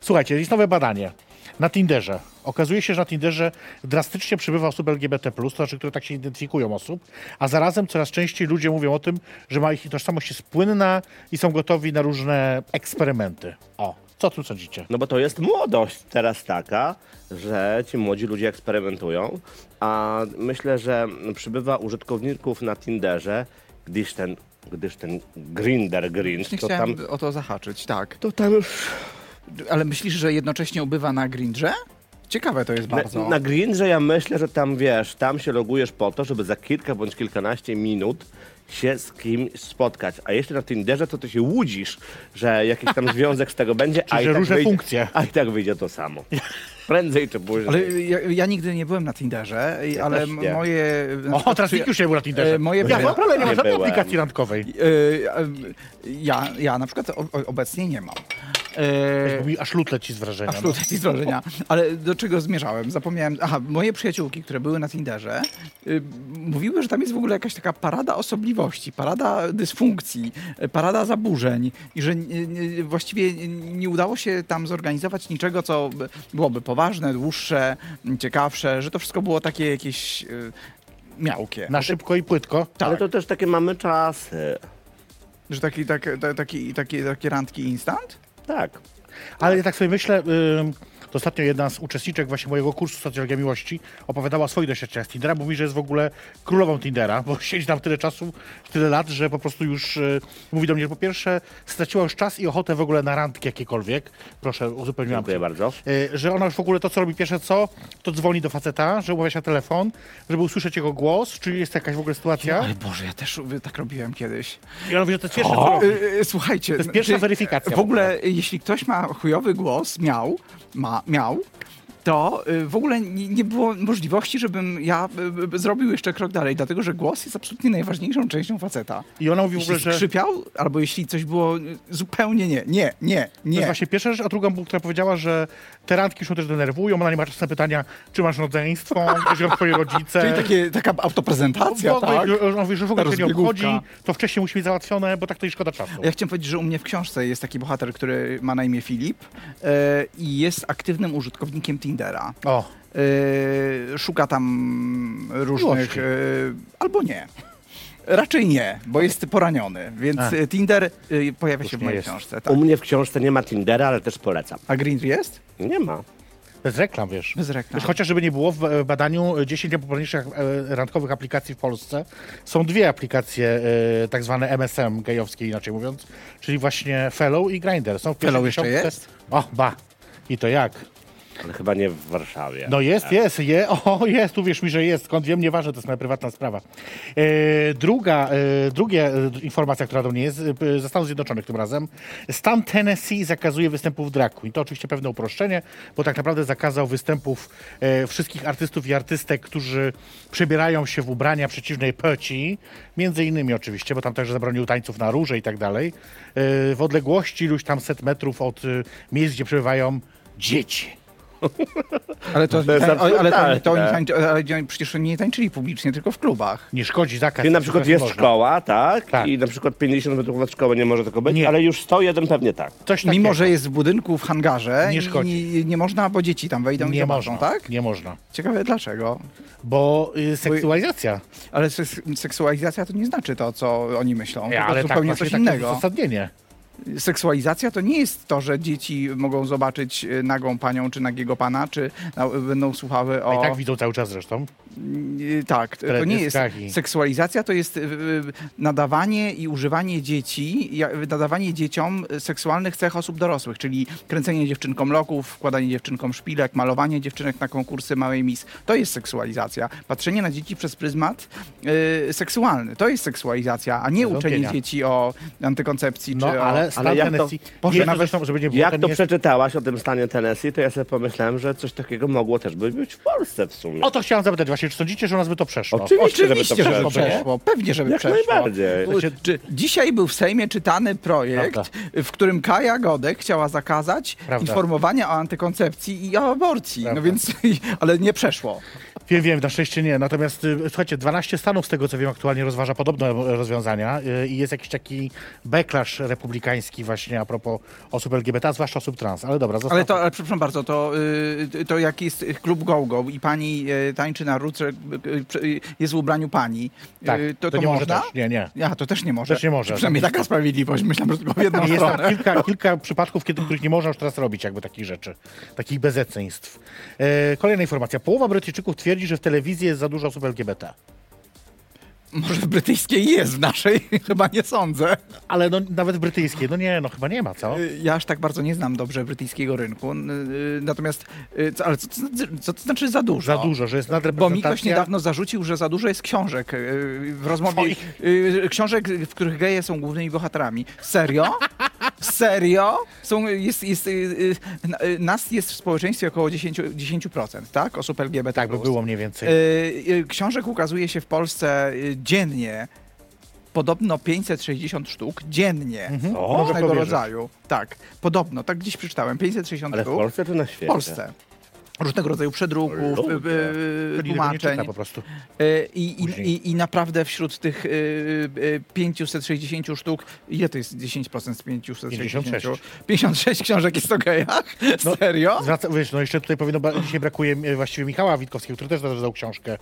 Speaker 2: Słuchajcie, jest nowe badanie na Tinderze. Okazuje się, że na Tinderze drastycznie przybywa osób LGBT+, to znaczy, które tak się identyfikują osób, a zarazem coraz częściej ludzie mówią o tym, że ma ich tożsamość jest płynna i są gotowi na różne eksperymenty. O, co o tym sądzicie?
Speaker 3: No bo to jest młodość teraz taka, że ci młodzi ludzie eksperymentują, a myślę, że przybywa użytkowników na Tinderze, gdyż ten, gdyż ten Grinder Grind,
Speaker 4: Nie
Speaker 3: to
Speaker 4: chciałem
Speaker 3: tam,
Speaker 4: o to zahaczyć, tak.
Speaker 3: to tam już
Speaker 4: Ale myślisz, że jednocześnie ubywa na Grindrze? Ciekawe to jest bardzo.
Speaker 3: Na, na Grindrze ja myślę, że tam wiesz, tam się logujesz po to, żeby za kilka bądź kilkanaście minut się z kimś spotkać. A jeszcze na Tinderze to ty się łudzisz, że jakiś tam związek z tego będzie, a
Speaker 2: że
Speaker 3: i, tak
Speaker 2: różne
Speaker 3: wyjdzie,
Speaker 2: funkcje.
Speaker 3: a i tak wyjdzie to samo. Prędzej czy później.
Speaker 4: Ale ja, ja nigdy nie byłem na Tinderze, i- ale
Speaker 3: też nie.
Speaker 4: moje... na
Speaker 2: O,
Speaker 4: przykład
Speaker 2: teraz
Speaker 4: przyja-
Speaker 2: nikt już nie był na Tinderze.
Speaker 4: Znaczy, e, moje
Speaker 2: ja
Speaker 4: przyja-
Speaker 2: naprawdę nie mam
Speaker 3: Nie
Speaker 2: żadnej
Speaker 3: byłem.
Speaker 2: aplikacji randkowej.
Speaker 4: E, a, Ja, ja na przykład o- o- obecnie nie mam. E,
Speaker 2: Bo mi aż lód leci z wrażenia.
Speaker 4: Aż tutaj ci zdarzenia. Ale do czego zmierzałem? Zapomniałem. Aha, moje przyjaciółki, które były na Tinderze, y, mówiły, że tam jest w ogóle jakaś taka parada osobliwości, parada dysfunkcji, y, parada zaburzeń i że y, y, właściwie y, nie udało się tam zorganizować niczego, co by- byłoby poważne, dłuższe, m, ciekawsze, że to wszystko było takie jakieś y, miałkie.
Speaker 2: Na szybko i płytko.
Speaker 4: Tak.
Speaker 3: Ale to też takie mamy czasy.
Speaker 4: Że taki, tak, ta, taki, takie, takie randki instant?
Speaker 3: Tak.
Speaker 2: Ale ja tak sobie myślę, ym, to ostatnio jedna z uczestniczek właśnie mojego kursu Socjologia Miłości opowiadała o swoich doświadczeniach z Tindera. Mówi, że jest w ogóle królową Tindera, bo siedzi tam tyle czasu, tyle lat, że po prostu już y, mówi do mnie, że po pierwsze straciła już czas i ochotę w ogóle na randki jakiekolwiek. Proszę, uzupełniłam.
Speaker 3: Dziękuję
Speaker 2: cię.
Speaker 3: bardzo.
Speaker 2: Y, że ona już w ogóle to, co robi pierwsze co, to dzwoni do faceta, że umawia się na telefon, żeby usłyszeć jego głos, czy jest jakaś w ogóle sytuacja.
Speaker 4: Ale Boże, ja też y, tak robiłem kiedyś.
Speaker 2: I ona mówi, że to jest pierwsze co robi.
Speaker 4: Y, y, Słuchajcie, to
Speaker 2: jest pierwsza weryfikacja
Speaker 4: W ogóle, y, jeśli ktoś ma chujowy głos, miał, ma, miał, to y, w ogóle nie, nie było możliwości, żebym ja y, y, zrobił jeszcze krok dalej, dlatego że głos jest absolutnie najważniejszą częścią faceta.
Speaker 2: I ona mówi w ogóle,
Speaker 4: Jeśli
Speaker 2: że...
Speaker 4: skrzypiał, albo jeśli coś było y, zupełnie nie, nie, nie,
Speaker 2: To
Speaker 4: nie.
Speaker 2: jest właśnie pierwsza rzecz, a druga, która powiedziała, że te randki już ją też denerwują, ona nie ma czasu na pytania, czy masz rodzeństwo, czy są twoje rodzice.
Speaker 4: Czyli takie, taka autoprezentacja,
Speaker 2: w ogóle,
Speaker 4: tak?
Speaker 2: że- że- że w ogóle się nie obchodzi,
Speaker 4: Rozbiegówka.
Speaker 2: to wcześniej musi być załatwione, bo tak to i szkoda czasu.
Speaker 4: Ja chciałem powiedzieć, że u mnie w książce jest taki bohater, który ma na imię Filip y, i jest aktywnym użytkownikiem Tindera.
Speaker 2: O,
Speaker 4: Yy, szuka tam różnych.
Speaker 2: Miłości.
Speaker 4: yy, albo nie. Raczej nie, bo jest poraniony, więc
Speaker 2: A.
Speaker 4: y, Tinder y, pojawia się w
Speaker 2: nie
Speaker 4: mojej
Speaker 2: jest.
Speaker 4: książce. Tak.
Speaker 3: U mnie w książce nie ma Tindera, ale też polecam.
Speaker 4: A Grindr jest?
Speaker 3: Nie ma.
Speaker 2: bez reklam, wiesz.
Speaker 4: Bez reklam.
Speaker 2: Wiesz, Chociażby nie było, w e, w badaniu 10 najpopularniejszych e, randkowych aplikacji w Polsce są dwie aplikacje e, tak zwane MSM, gejowskie inaczej mówiąc, czyli właśnie Fellow i Grindr. Są w pierwszej
Speaker 4: Fellow jeszcze
Speaker 2: dziesiątce.
Speaker 4: jest?
Speaker 2: O, ba. I to jak?
Speaker 3: Ale chyba nie w Warszawie.
Speaker 2: No jest, jest, je, o jest, uwierz mi, że jest, skąd wiem, nieważne, to jest moja prywatna sprawa. E, druga, e, drugie e, informacja, która do mnie jest, e, p- ze Stanów Zjednoczonych tym razem. Stan Tennessee zakazuje występów drag queen. To oczywiście pewne uproszczenie, bo tak naprawdę zakazał występów e, wszystkich artystów i artystek, którzy przebierają się w ubrania przeciwnej płci, między innymi oczywiście, bo tam także zabronił tańców na róże i tak dalej, e, w odległości iluś tam set metrów od e, miejsc, gdzie przebywają dzieci.
Speaker 4: Ale to,
Speaker 3: To jest
Speaker 4: ale, ale, to, to oni
Speaker 3: absurdalne.
Speaker 4: tańczy, ale oni przecież nie tańczyli publicznie, tylko w klubach.
Speaker 2: Nie szkodzi zakaz.
Speaker 3: Czyli na przykład jest
Speaker 2: Można.
Speaker 3: szkoła, tak?
Speaker 2: Tak.
Speaker 3: I na przykład 50 metrów od szkoły nie może tego być,
Speaker 2: Nie.
Speaker 3: ale już 101 pewnie tak.
Speaker 2: Coś
Speaker 4: Mimo,
Speaker 2: takiego.
Speaker 4: że jest w budynku, w hangarze,
Speaker 2: Nie
Speaker 4: i-
Speaker 2: szkodzi.
Speaker 4: i nie, można, bo dzieci tam wejdą i
Speaker 2: nie
Speaker 4: zobaczą,
Speaker 2: można,
Speaker 4: tak?
Speaker 2: Nie można.
Speaker 4: Ciekawe dlaczego.
Speaker 2: Bo y, seksualizacja.
Speaker 4: Ale seks- seksualizacja to nie znaczy to, co oni myślą,
Speaker 2: Ja,
Speaker 4: tylko
Speaker 2: ale tak
Speaker 4: zupełnie
Speaker 2: właśnie
Speaker 4: coś
Speaker 2: takie
Speaker 4: innego.
Speaker 2: uzasadnienie.
Speaker 4: seksualizacja to nie jest to, że dzieci mogą zobaczyć y, nagą panią czy nagiego pana, czy na, będą słuchały
Speaker 2: A
Speaker 4: o...
Speaker 2: I tak widzą cały czas zresztą.
Speaker 4: Y, Tak, t- to nie jest.
Speaker 2: Teledyskaki.
Speaker 4: Seksualizacja to jest y, y, nadawanie i używanie dzieci, ja- nadawanie dzieciom y, seksualnych cech osób dorosłych, czyli kręcenie dziewczynkom loków, wkładanie dziewczynkom szpilek, malowanie dziewczynek na konkursy małej mis. To jest seksualizacja. Patrzenie na dzieci przez pryzmat y, seksualny. To jest seksualizacja, a nie
Speaker 2: Bez
Speaker 4: uczenie
Speaker 2: wątpienia.
Speaker 4: dzieci o antykoncepcji
Speaker 2: No,
Speaker 4: czy o...
Speaker 2: ale stan
Speaker 3: ale jak to-
Speaker 2: Tennessee...
Speaker 4: Boże,
Speaker 2: Jezu,
Speaker 4: nawet-
Speaker 2: zresztą, żeby nie było,
Speaker 3: Jak
Speaker 2: ten
Speaker 3: to
Speaker 2: jest-
Speaker 3: przeczytałaś o tym stanie Tennessee, to ja sobie pomyślałem, że coś takiego mogło też by być w Polsce w sumie.
Speaker 2: O to chciałem zapytać właśnie, czy sądzicie, że u nas by to przeszło?
Speaker 3: Oczywiście.
Speaker 4: Oczywiście,
Speaker 3: żeby to
Speaker 2: przeszło.
Speaker 4: żeby przeszło. Pewnie, żeby
Speaker 3: Jak
Speaker 4: przeszło.
Speaker 3: najbardziej.
Speaker 4: U- Czy dzisiaj był w Sejmie czytany projekt,
Speaker 2: Prawda.
Speaker 4: w którym Kaja Godek chciała zakazać
Speaker 2: Prawda.
Speaker 4: informowania o antykoncepcji i o aborcji.
Speaker 2: Prawda.
Speaker 4: No więc, ale nie przeszło.
Speaker 2: Wiem, wiem, na szczęście nie. Natomiast y, słuchajcie, 12 stanów z tego co wiem aktualnie rozważa podobne e, rozwiązania y, i jest jakiś taki backlash republikański właśnie a propos osób LGBT, a zwłaszcza osób trans. Ale dobra, zostawmy.
Speaker 4: Ale to, ale przepraszam bardzo, to, y, to jak jest klub GoGo i pani y, tańczy na ruce, y, prze- y, jest w ubraniu pani, y,
Speaker 2: tak,
Speaker 4: to, to,
Speaker 2: nie
Speaker 4: można?
Speaker 2: może też. Nie, nie.
Speaker 4: A, to też nie może.
Speaker 2: Też nie może. tak.
Speaker 4: Przynajmniej taka sprawiedliwość, myślałem, że tylko w jedną
Speaker 2: Jest
Speaker 4: stronę.
Speaker 2: tam kilka, kilka przypadków, kiedy, których nie można już teraz robić, jakby takich rzeczy, takich bezeceństw. E, kolejna informacja. Połowa Brytyjczyków twierdzi, że w telewizji jest za dużo osób LGBT.
Speaker 4: Może w brytyjskiej jest, w naszej chyba nie sądzę.
Speaker 2: Ale no, nawet brytyjskie, no nie, no chyba nie ma, co?
Speaker 4: Y, Ja aż tak bardzo nie znam dobrze brytyjskiego rynku, n- y, natomiast, y, co, ale co, to znaczy- co to znaczy za dużo?
Speaker 2: Za dużo, że jest
Speaker 4: Bo mi ktoś
Speaker 2: nadreprezentacja.
Speaker 4: niedawno zarzucił, że za dużo jest książek y, w rozmowie.
Speaker 2: Twoich.
Speaker 4: y, Książek, w których geje są głównymi bohaterami. Serio? Serio? Są, jest, jest, y, y, na- y, nas jest w społeczeństwie około 10%, 10% tak? Osób LGBT.
Speaker 2: Tak by było mniej więcej.
Speaker 4: Y, y, Książek ukazuje się w Polsce y, dziennie. Podobno 560 sztuk dziennie.
Speaker 2: Mhm.
Speaker 4: Mhm.
Speaker 3: O,
Speaker 2: Może
Speaker 4: Różnego
Speaker 2: powierzysz.
Speaker 4: rodzaju. Tak, podobno, tak gdzieś przeczytałem. 560
Speaker 3: Ale w
Speaker 4: sztuk
Speaker 3: Polsce czy na świecie?
Speaker 4: w Polsce. Różnego rodzaju przedruków,
Speaker 3: Ludzie.
Speaker 4: y, y,
Speaker 2: Czyli tego nie
Speaker 4: tłumaczeń.
Speaker 2: czyta po prostu.
Speaker 4: Y, I, i,
Speaker 2: później.
Speaker 4: i, I naprawdę wśród tych y, y, 560 sztuk, ile to jest 10% z 560?
Speaker 2: 56.
Speaker 4: 56 książek jest o gejach? Serio?
Speaker 2: No, Zwraca, wiesz, no jeszcze tutaj powinno, ba- dzisiaj brakuje e, właściwie Michała Witkowskiego, który też napisał książkę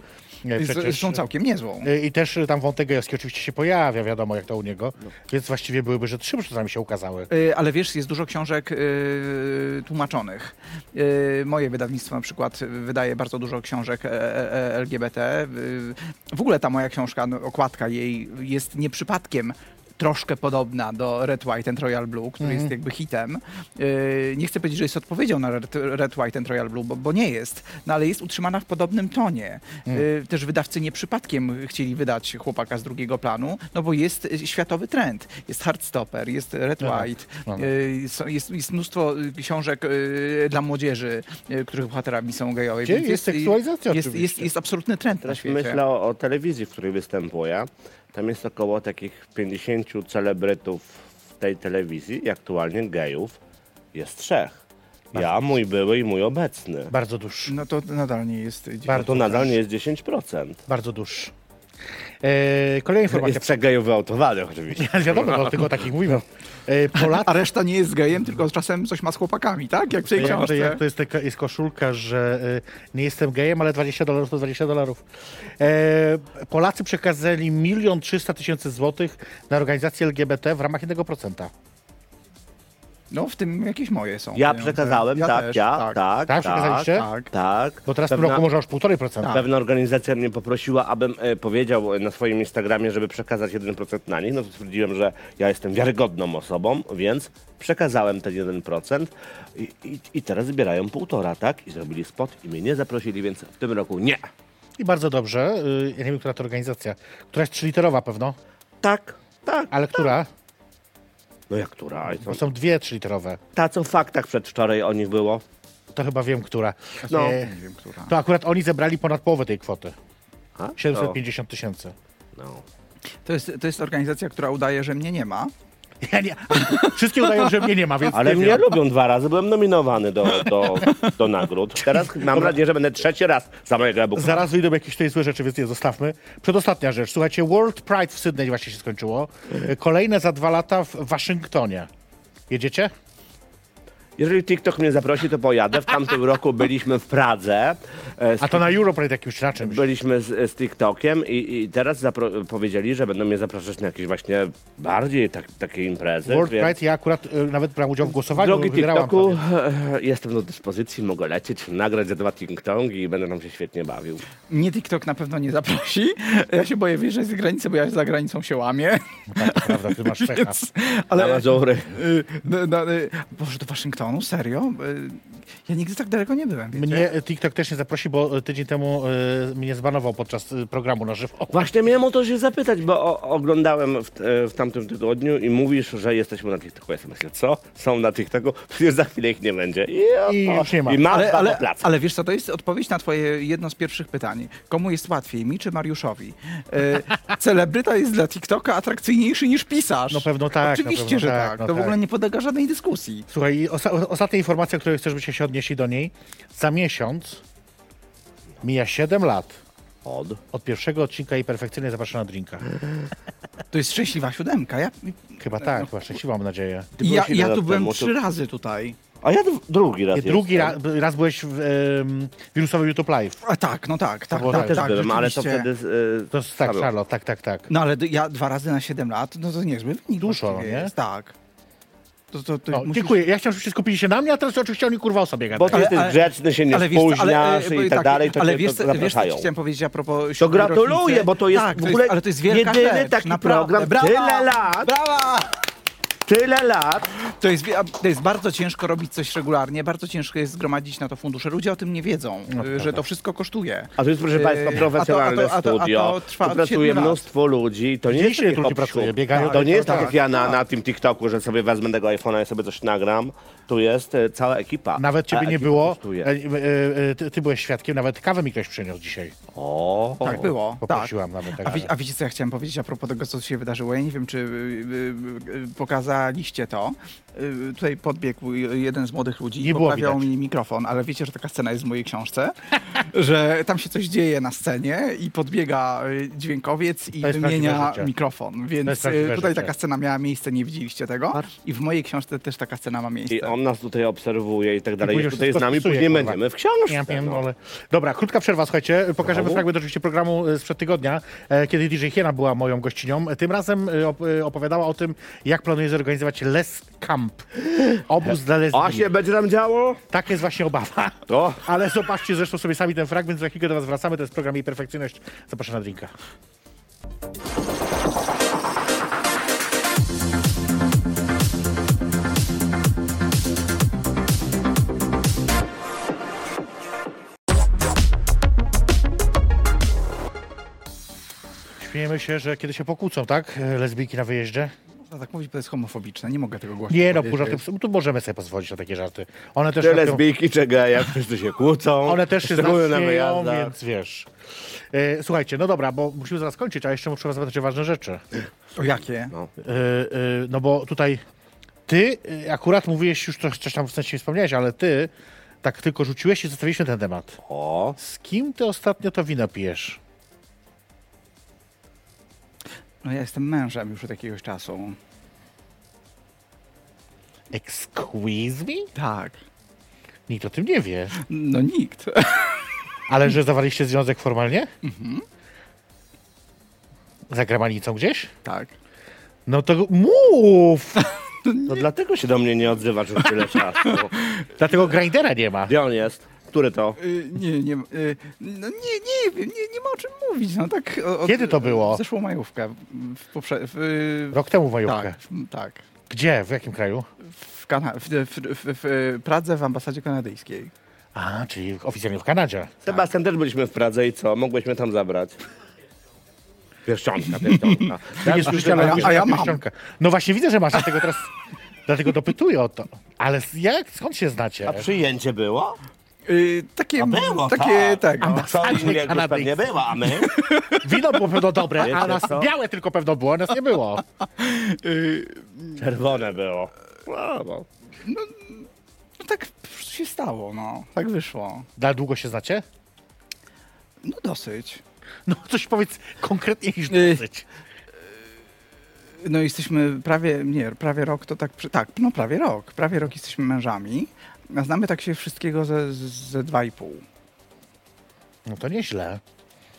Speaker 2: e,
Speaker 4: Z-
Speaker 2: przecież.
Speaker 4: Są całkiem niezłą.
Speaker 2: E, I też e, tam wątek gejowski oczywiście się pojawia, wiadomo jak to u niego.
Speaker 4: No.
Speaker 2: Więc właściwie byłyby, że trzy przynajmniej się ukazały.
Speaker 4: Y, Ale wiesz, jest dużo książek y, tłumaczonych. Y, moje wydawnictwo na przykład wydaje bardzo dużo książek e, e, e, LGBT. Y, w ogóle ta moja książka, no, okładka jej jest nieprzypadkiem troszkę podobna do Red, White and Royal Blue, który jest jakby hitem. Y, nie chcę powiedzieć, że jest odpowiedzią na Red, Red White and Royal Blue, bo, bo nie jest, no ale jest utrzymana w podobnym tonie.
Speaker 2: Hmm.
Speaker 4: Y, też wydawcy nie przypadkiem chcieli wydać chłopaka z drugiego planu, no bo jest y, światowy trend. Jest Hardstopper, jest Red
Speaker 2: No tak.
Speaker 4: White,
Speaker 2: No, no.
Speaker 4: Y, są- Jest, jest mnóstwo y, książek y, dla młodzieży, y, których bohaterami są gejowie.
Speaker 2: Gdzie
Speaker 4: więc
Speaker 2: jest seksualizacja
Speaker 4: Jest, jest,
Speaker 2: oczywiście.
Speaker 4: jest absolutny trend na
Speaker 3: Teraz
Speaker 4: świecie.
Speaker 3: myślę o, o telewizji, w której występuję. Tam jest około takich 50 celebrytów w tej telewizji i aktualnie gejów jest trzech. Ja, mój były i mój obecny.
Speaker 2: Bardzo dusz.
Speaker 4: No to nadal nie jest.
Speaker 2: Bardzo
Speaker 3: To nadal nie jest 10%.
Speaker 2: Bardzo dusz. E, kolejna informacja.
Speaker 3: Jest trzech gejów wyautowanych oczywiście.
Speaker 2: Ale wiadomo, bo tylko o takich mówimy. E, Polacy,
Speaker 4: A reszta nie jest gejem, tylko czasem coś ma z chłopakami, tak? Jak w tej
Speaker 2: jak to,
Speaker 4: książce.
Speaker 2: jak to jest, taka, jest koszulka, że e, nie jestem gejem, ale 20 dolarów to 20 dolarów. E, Polacy przekazali 1 300 tysięcy złotych na organizację LGBT w ramach 1%.
Speaker 4: No w tym jakieś moje są.
Speaker 3: Ja
Speaker 4: pieniądze.
Speaker 3: przekazałem, tak,
Speaker 4: też,
Speaker 3: ja,
Speaker 4: tak.
Speaker 3: tak, tak,
Speaker 2: Tak, przekazaliście?
Speaker 3: tak, tak.
Speaker 2: Bo teraz w tym
Speaker 3: Pewna-
Speaker 2: roku może aż 1,5%.
Speaker 4: Tak.
Speaker 3: Pewna organizacja mnie poprosiła, abym e, powiedział e, na swoim Instagramie, żeby przekazać 1% na nich. No to stwierdziłem, że ja jestem wiarygodną osobą, więc przekazałem ten 1% i, i, i teraz zbierają półtora, tak? I zrobili spot i mnie nie zaprosili, więc w tym roku nie.
Speaker 2: I bardzo dobrze. Y, Ja nie wiem, która to organizacja. Któraś trzyliterowa pewno,
Speaker 3: Tak, tak.
Speaker 2: ale która?
Speaker 3: No jak która? I co?
Speaker 2: Bo są dwie trzyliterowe.
Speaker 3: Ta, co w faktach przedwczoraj o nich było.
Speaker 2: To chyba wiem, która.
Speaker 3: No.
Speaker 2: E,
Speaker 4: Nie wiem, która.
Speaker 2: To akurat oni zebrali ponad połowę tej kwoty.
Speaker 3: A?
Speaker 2: 750 tysięcy.
Speaker 3: No, no.
Speaker 4: To, jest, to jest organizacja, która udaje, że mnie nie ma.
Speaker 2: Ja nie, wszystkie udają, że mnie nie ma, więc
Speaker 3: Ale
Speaker 2: nie
Speaker 3: mnie
Speaker 2: wiem.
Speaker 3: lubią dwa razy, byłem nominowany do, do, do nagród. Teraz mam nadzieję, że będę trzeci raz samego e-booka.
Speaker 2: Zaraz wyjdą jakieś tutaj złe rzeczy, więc je zostawmy. Przedostatnia rzecz. Słuchajcie, World Pride w Sydney właśnie się skończyło. E, Kolejne za dwa lata w Waszyngtonie. Jedziecie?
Speaker 3: Jeżeli TikTok mnie zaprosi, to pojadę. W tamtym roku byliśmy w Pradze. e, z
Speaker 2: A to na Europride jakimś na czymś.
Speaker 3: Byliśmy z, z TikTokiem i, i teraz zapro- powiedzieli, że będą mnie zapraszać na jakieś właśnie bardziej tak, takie imprezy.
Speaker 2: World
Speaker 3: więc-
Speaker 2: Pride, ja akurat y, nawet brałem udział w głosowaniu,
Speaker 3: Drogi
Speaker 2: wygrałam
Speaker 3: TikToku,
Speaker 2: prawie.
Speaker 3: e, jestem do dyspozycji, mogę lecieć, nagrać za dwa TikToki i będę nam się świetnie bawił.
Speaker 4: Mnie TikTok na pewno nie zaprosi. Ja się boję wyjeżdżać z granicy, bo ja za granicą się łamię.
Speaker 2: No tak, Prawda, ty masz pecha.
Speaker 4: Więc,
Speaker 3: Ale... Na
Speaker 4: ale
Speaker 3: Mazury.
Speaker 4: y, na, na, y, Boże, do Waszyngtonu? Serio? Y, Ja nigdy tak daleko nie byłem. wiecie?
Speaker 2: Mnie y, TikTok też nie zaprosi, bo y, tydzień temu y, mnie zbanował podczas y, programu na żywo.
Speaker 3: Właśnie miałem o to się zapytać, bo o, oglądałem w, e, w tamtym tygodniu i mówisz, że jesteśmy na TikToku. Ja sobie myślę, co? Są na TikToku? Przecież za chwilę ich nie będzie. I,
Speaker 2: I
Speaker 3: oto.
Speaker 2: już nie ma.
Speaker 3: I ma
Speaker 4: Ale, ale,
Speaker 3: plac.
Speaker 4: ale wiesz co, to jest odpowiedź na twoje jedno z pierwszych pytań. Komu jest łatwiej, mi czy Mariuszowi? E, celebryta jest dla TikToka atrakcyjniejszy niż pisarz.
Speaker 2: No pewno tak,
Speaker 4: Oczywiście,
Speaker 2: na pewno
Speaker 4: że tak.
Speaker 2: no
Speaker 4: to w
Speaker 2: tak.
Speaker 4: ogóle nie podlega żadnej dyskusji.
Speaker 2: Słuchaj, i osta- o- ostatnia informacja, o której chcesz, byście się odnieśli do niej. Za miesiąc mija 7 lat
Speaker 3: Od.
Speaker 2: od pierwszego odcinka i perfekcyjnie zapraszana drinka.
Speaker 4: To jest szczęśliwa siódemka. Ja,
Speaker 2: Chyba tak, chyba szczęśliwa mam nadzieję.
Speaker 3: Ty byłeś
Speaker 4: ja,
Speaker 3: ile
Speaker 4: ja
Speaker 3: lat
Speaker 4: tu byłem
Speaker 3: temu?
Speaker 4: trzy razy tutaj.
Speaker 3: A ja dru- drugi raz
Speaker 2: Nie, drugi
Speaker 3: jestem. Tak,
Speaker 2: ra, raz byłeś w em, wirusowym YouTube Live.
Speaker 4: A tak, no tak, tak,
Speaker 2: było
Speaker 4: tak,
Speaker 2: tak.
Speaker 3: Też
Speaker 4: tak,
Speaker 3: byłem, ale to
Speaker 4: rzeczywiście.
Speaker 3: wtedy... e,
Speaker 2: To jest tak,
Speaker 3: Charlotte.
Speaker 2: Charlotte, tak, tak, tak.
Speaker 4: No ale d- ja dwa razy na siedem lat, no to niezły wynik
Speaker 2: Dużo,
Speaker 4: właściwie
Speaker 2: nie?
Speaker 4: jest, tak. To, to, to
Speaker 2: No,
Speaker 4: musisz-
Speaker 2: Dziękuję. Ja chciałem, żebyście skupili się na mnie, a teraz oczywiście oni kurwa o sobie
Speaker 3: Bo
Speaker 2: gadają.
Speaker 3: ty
Speaker 4: Ale-
Speaker 3: jesteś
Speaker 4: ale-
Speaker 3: grzeczny, się nie
Speaker 4: ale wiesz co,
Speaker 3: spóźniasz
Speaker 4: e, bo
Speaker 3: i tak dalej, to
Speaker 4: ale
Speaker 3: cię
Speaker 4: wiesz,
Speaker 3: to
Speaker 4: co- wiesz co ci
Speaker 3: zapraszają.
Speaker 4: chciałem powiedzieć a propos
Speaker 3: To
Speaker 4: siódmej
Speaker 3: gratuluję,
Speaker 4: rocznicy?
Speaker 3: bo to jest
Speaker 4: tak,
Speaker 3: w ogóle
Speaker 4: to jest, ale to jest wielka
Speaker 3: jedyny
Speaker 4: rzecz,
Speaker 3: taki
Speaker 4: naprawdę.
Speaker 3: program,
Speaker 4: Brawa!
Speaker 3: tyle lat.
Speaker 4: Brawa!
Speaker 3: Tyle lat.
Speaker 4: To jest, wi- a- to jest bardzo ciężko robić coś regularnie, bardzo ciężko jest zgromadzić na to fundusze. Ludzie o tym nie wiedzą, y, że to wszystko kosztuje.
Speaker 3: No, A to jest, proszę
Speaker 4: Yy,
Speaker 3: Państwa,
Speaker 4: a to-
Speaker 3: profesjonalne
Speaker 4: a to- a to- a to
Speaker 3: studio.
Speaker 4: trwa
Speaker 3: tu
Speaker 4: od
Speaker 3: pracuje
Speaker 4: siedmiu lat.
Speaker 3: mnóstwo ludzi. To nie jest
Speaker 2: Widzieliście, ile
Speaker 3: takich
Speaker 2: ludzi pracuje,
Speaker 3: obsług.
Speaker 2: biegają
Speaker 3: To
Speaker 2: do-
Speaker 3: nie jest
Speaker 2: tak,
Speaker 3: tak jak ja na, na tym TikToku, że sobie wezmę tego iPhone'a i sobie coś nagram. Tu jest e, cała ekipa.
Speaker 2: Nawet ciebie
Speaker 3: Ta
Speaker 2: nie
Speaker 3: ekipa
Speaker 2: było.
Speaker 3: kosztuje.
Speaker 2: E, e, e, Ty, ty byłeś świadkiem, nawet kawę mi ktoś przyniósł dzisiaj.
Speaker 3: O,
Speaker 4: Tak było, tak.
Speaker 2: Poprosiłam nawet. Tak.
Speaker 4: A, wie, a wiecie, co ja chciałem powiedzieć a propos tego, co się wydarzyło? Ja nie wiem, czy y, y, y, pokazaliście to. Y, Tutaj podbiegł jeden z młodych ludzi
Speaker 2: Nie
Speaker 4: i
Speaker 2: było
Speaker 4: poprawiał
Speaker 2: widać.
Speaker 4: mi mikrofon, ale wiecie, że taka scena jest w mojej książce, że tam się coś dzieje na scenie i podbiega y, dźwiękowiec i
Speaker 2: To jest
Speaker 4: wymienia
Speaker 2: prawdziwe życie.
Speaker 4: mikrofon,
Speaker 2: To jest
Speaker 4: więc
Speaker 2: prawdziwe
Speaker 4: y, tutaj
Speaker 2: życie.
Speaker 4: taka scena miała miejsce, nie widzieliście tego i w mojej książce też taka scena ma miejsce.
Speaker 3: I on nas tutaj obserwuje i tak dalej.
Speaker 2: później
Speaker 3: Jest tutaj z
Speaker 2: wszystko
Speaker 3: nami,
Speaker 2: wpisuje,
Speaker 3: później
Speaker 2: kurwa.
Speaker 3: będziemy w
Speaker 2: Ja
Speaker 3: książce. no.
Speaker 2: pierdolę. Dobra, krótka przerwa, słuchajcie. Pokażemy
Speaker 3: Znowu?
Speaker 2: fragment oczywiście programu e, sprzed tygodnia, e, kiedy DJ Hiena była moją gościnią. Tym razem e, op- e, opowiadała o tym, jak planuje zorganizować Les Camp. Obóz dla
Speaker 3: A
Speaker 2: lesbijek.
Speaker 3: się będzie nam działo?
Speaker 2: Tak jest właśnie obawa.
Speaker 3: To.
Speaker 2: Ale zobaczcie zresztą sobie sami ten fragment, za chwilkę do was wracamy. To jest program Jej Perfekcyjność. Zapraszam na drinka. Śmiejemy się, że kiedy się pokłócą, tak? E, Lesbijki na wyjeździe.
Speaker 4: Można tak mówić, bo to jest homofobiczne, nie mogę tego głośno
Speaker 2: Nie no, pół
Speaker 4: powiedzieć.
Speaker 2: żarty, tu możemy sobie pozwolić na takie żarty. One też
Speaker 3: Te
Speaker 2: robią-
Speaker 3: lesbijki, czego jak wszyscy się kłócą.
Speaker 2: One też się
Speaker 3: szczególnie na
Speaker 2: zaśmieją,
Speaker 3: wyjazdach.
Speaker 2: więc wiesz. E, słuchajcie, no dobra, bo musimy zaraz kończyć, a jeszcze muszę was zapytać o ważne rzeczy.
Speaker 4: O jakie?
Speaker 3: No.
Speaker 2: E, e, no bo tutaj ty e, akurat mówiłeś już coś, coś tam w sensie wspomniałeś, ale ty tak tylko rzuciłeś i zostawiliśmy ten temat.
Speaker 3: O.
Speaker 2: Z kim ty ostatnio to wino pijesz?
Speaker 4: No ja jestem mężem już od jakiegoś czasu.
Speaker 2: Excuse me?
Speaker 4: Tak.
Speaker 2: Nikt o tym nie wie.
Speaker 4: No nikt.
Speaker 2: Ale że zawarliście związek formalnie?
Speaker 3: Mhm.
Speaker 2: Za granicą gdzieś?
Speaker 4: tak.
Speaker 2: No to mów!
Speaker 3: No dlatego się do mnie nie odzywasz już tyle czasu.
Speaker 2: Dlatego grindera nie ma.
Speaker 3: Gdzie on jest? Który to?
Speaker 4: Y, Nie, nie, y, no nie, nie wiem, nie, nie ma o czym mówić. No tak. o- od-
Speaker 2: Kiedy to było?
Speaker 4: Zeszłą majówkę. W poprze... w, w,
Speaker 2: Rok temu w majówkę.
Speaker 4: tak, w- tak.
Speaker 2: Gdzie? W jakim kraju?
Speaker 4: W, Kana- w, w, w, w Pradze w ambasadzie kanadyjskiej.
Speaker 2: A, czyli oficjalnie w Kanadzie.
Speaker 3: Sebastian, też byliśmy w Pradze i co? Mogłeś mnie tam zabrać? Pierścionka, pierścionka.
Speaker 2: Nie słyszałem,
Speaker 4: a ja-
Speaker 2: mówisz,
Speaker 4: a ja
Speaker 2: że
Speaker 4: mam.
Speaker 2: pierścionka. No właśnie widzę, że masz, dlatego teraz... Dlatego dopytuję o to. Ale s- jak, skąd się znacie?
Speaker 3: A przyjęcie było?
Speaker 4: Y, takie.
Speaker 3: A było,
Speaker 4: takie
Speaker 3: tak.
Speaker 4: tak.
Speaker 3: No, co
Speaker 2: Ambasadzie
Speaker 3: innego już
Speaker 2: kanadyjskiej.
Speaker 3: pewnie było, a my?
Speaker 2: Wino było pewno dobre, a
Speaker 3: Wiecie
Speaker 2: nas
Speaker 3: co?
Speaker 2: białe tylko pewno było, a nas nie było.
Speaker 3: Czerwone było. No, bo.
Speaker 4: No tak po prostu się stało, no. Tak wyszło.
Speaker 2: Dla długo się znacie?
Speaker 4: No dosyć.
Speaker 2: No coś powiedz konkretnie niż
Speaker 4: Y.
Speaker 2: dosyć.
Speaker 4: Y, No jesteśmy prawie, nie, prawie rok to tak, przy- tak, no prawie rok, prawie rok jesteśmy mężami, a znamy tak się wszystkiego ze, ze dwa i pół.
Speaker 2: No to nieźle.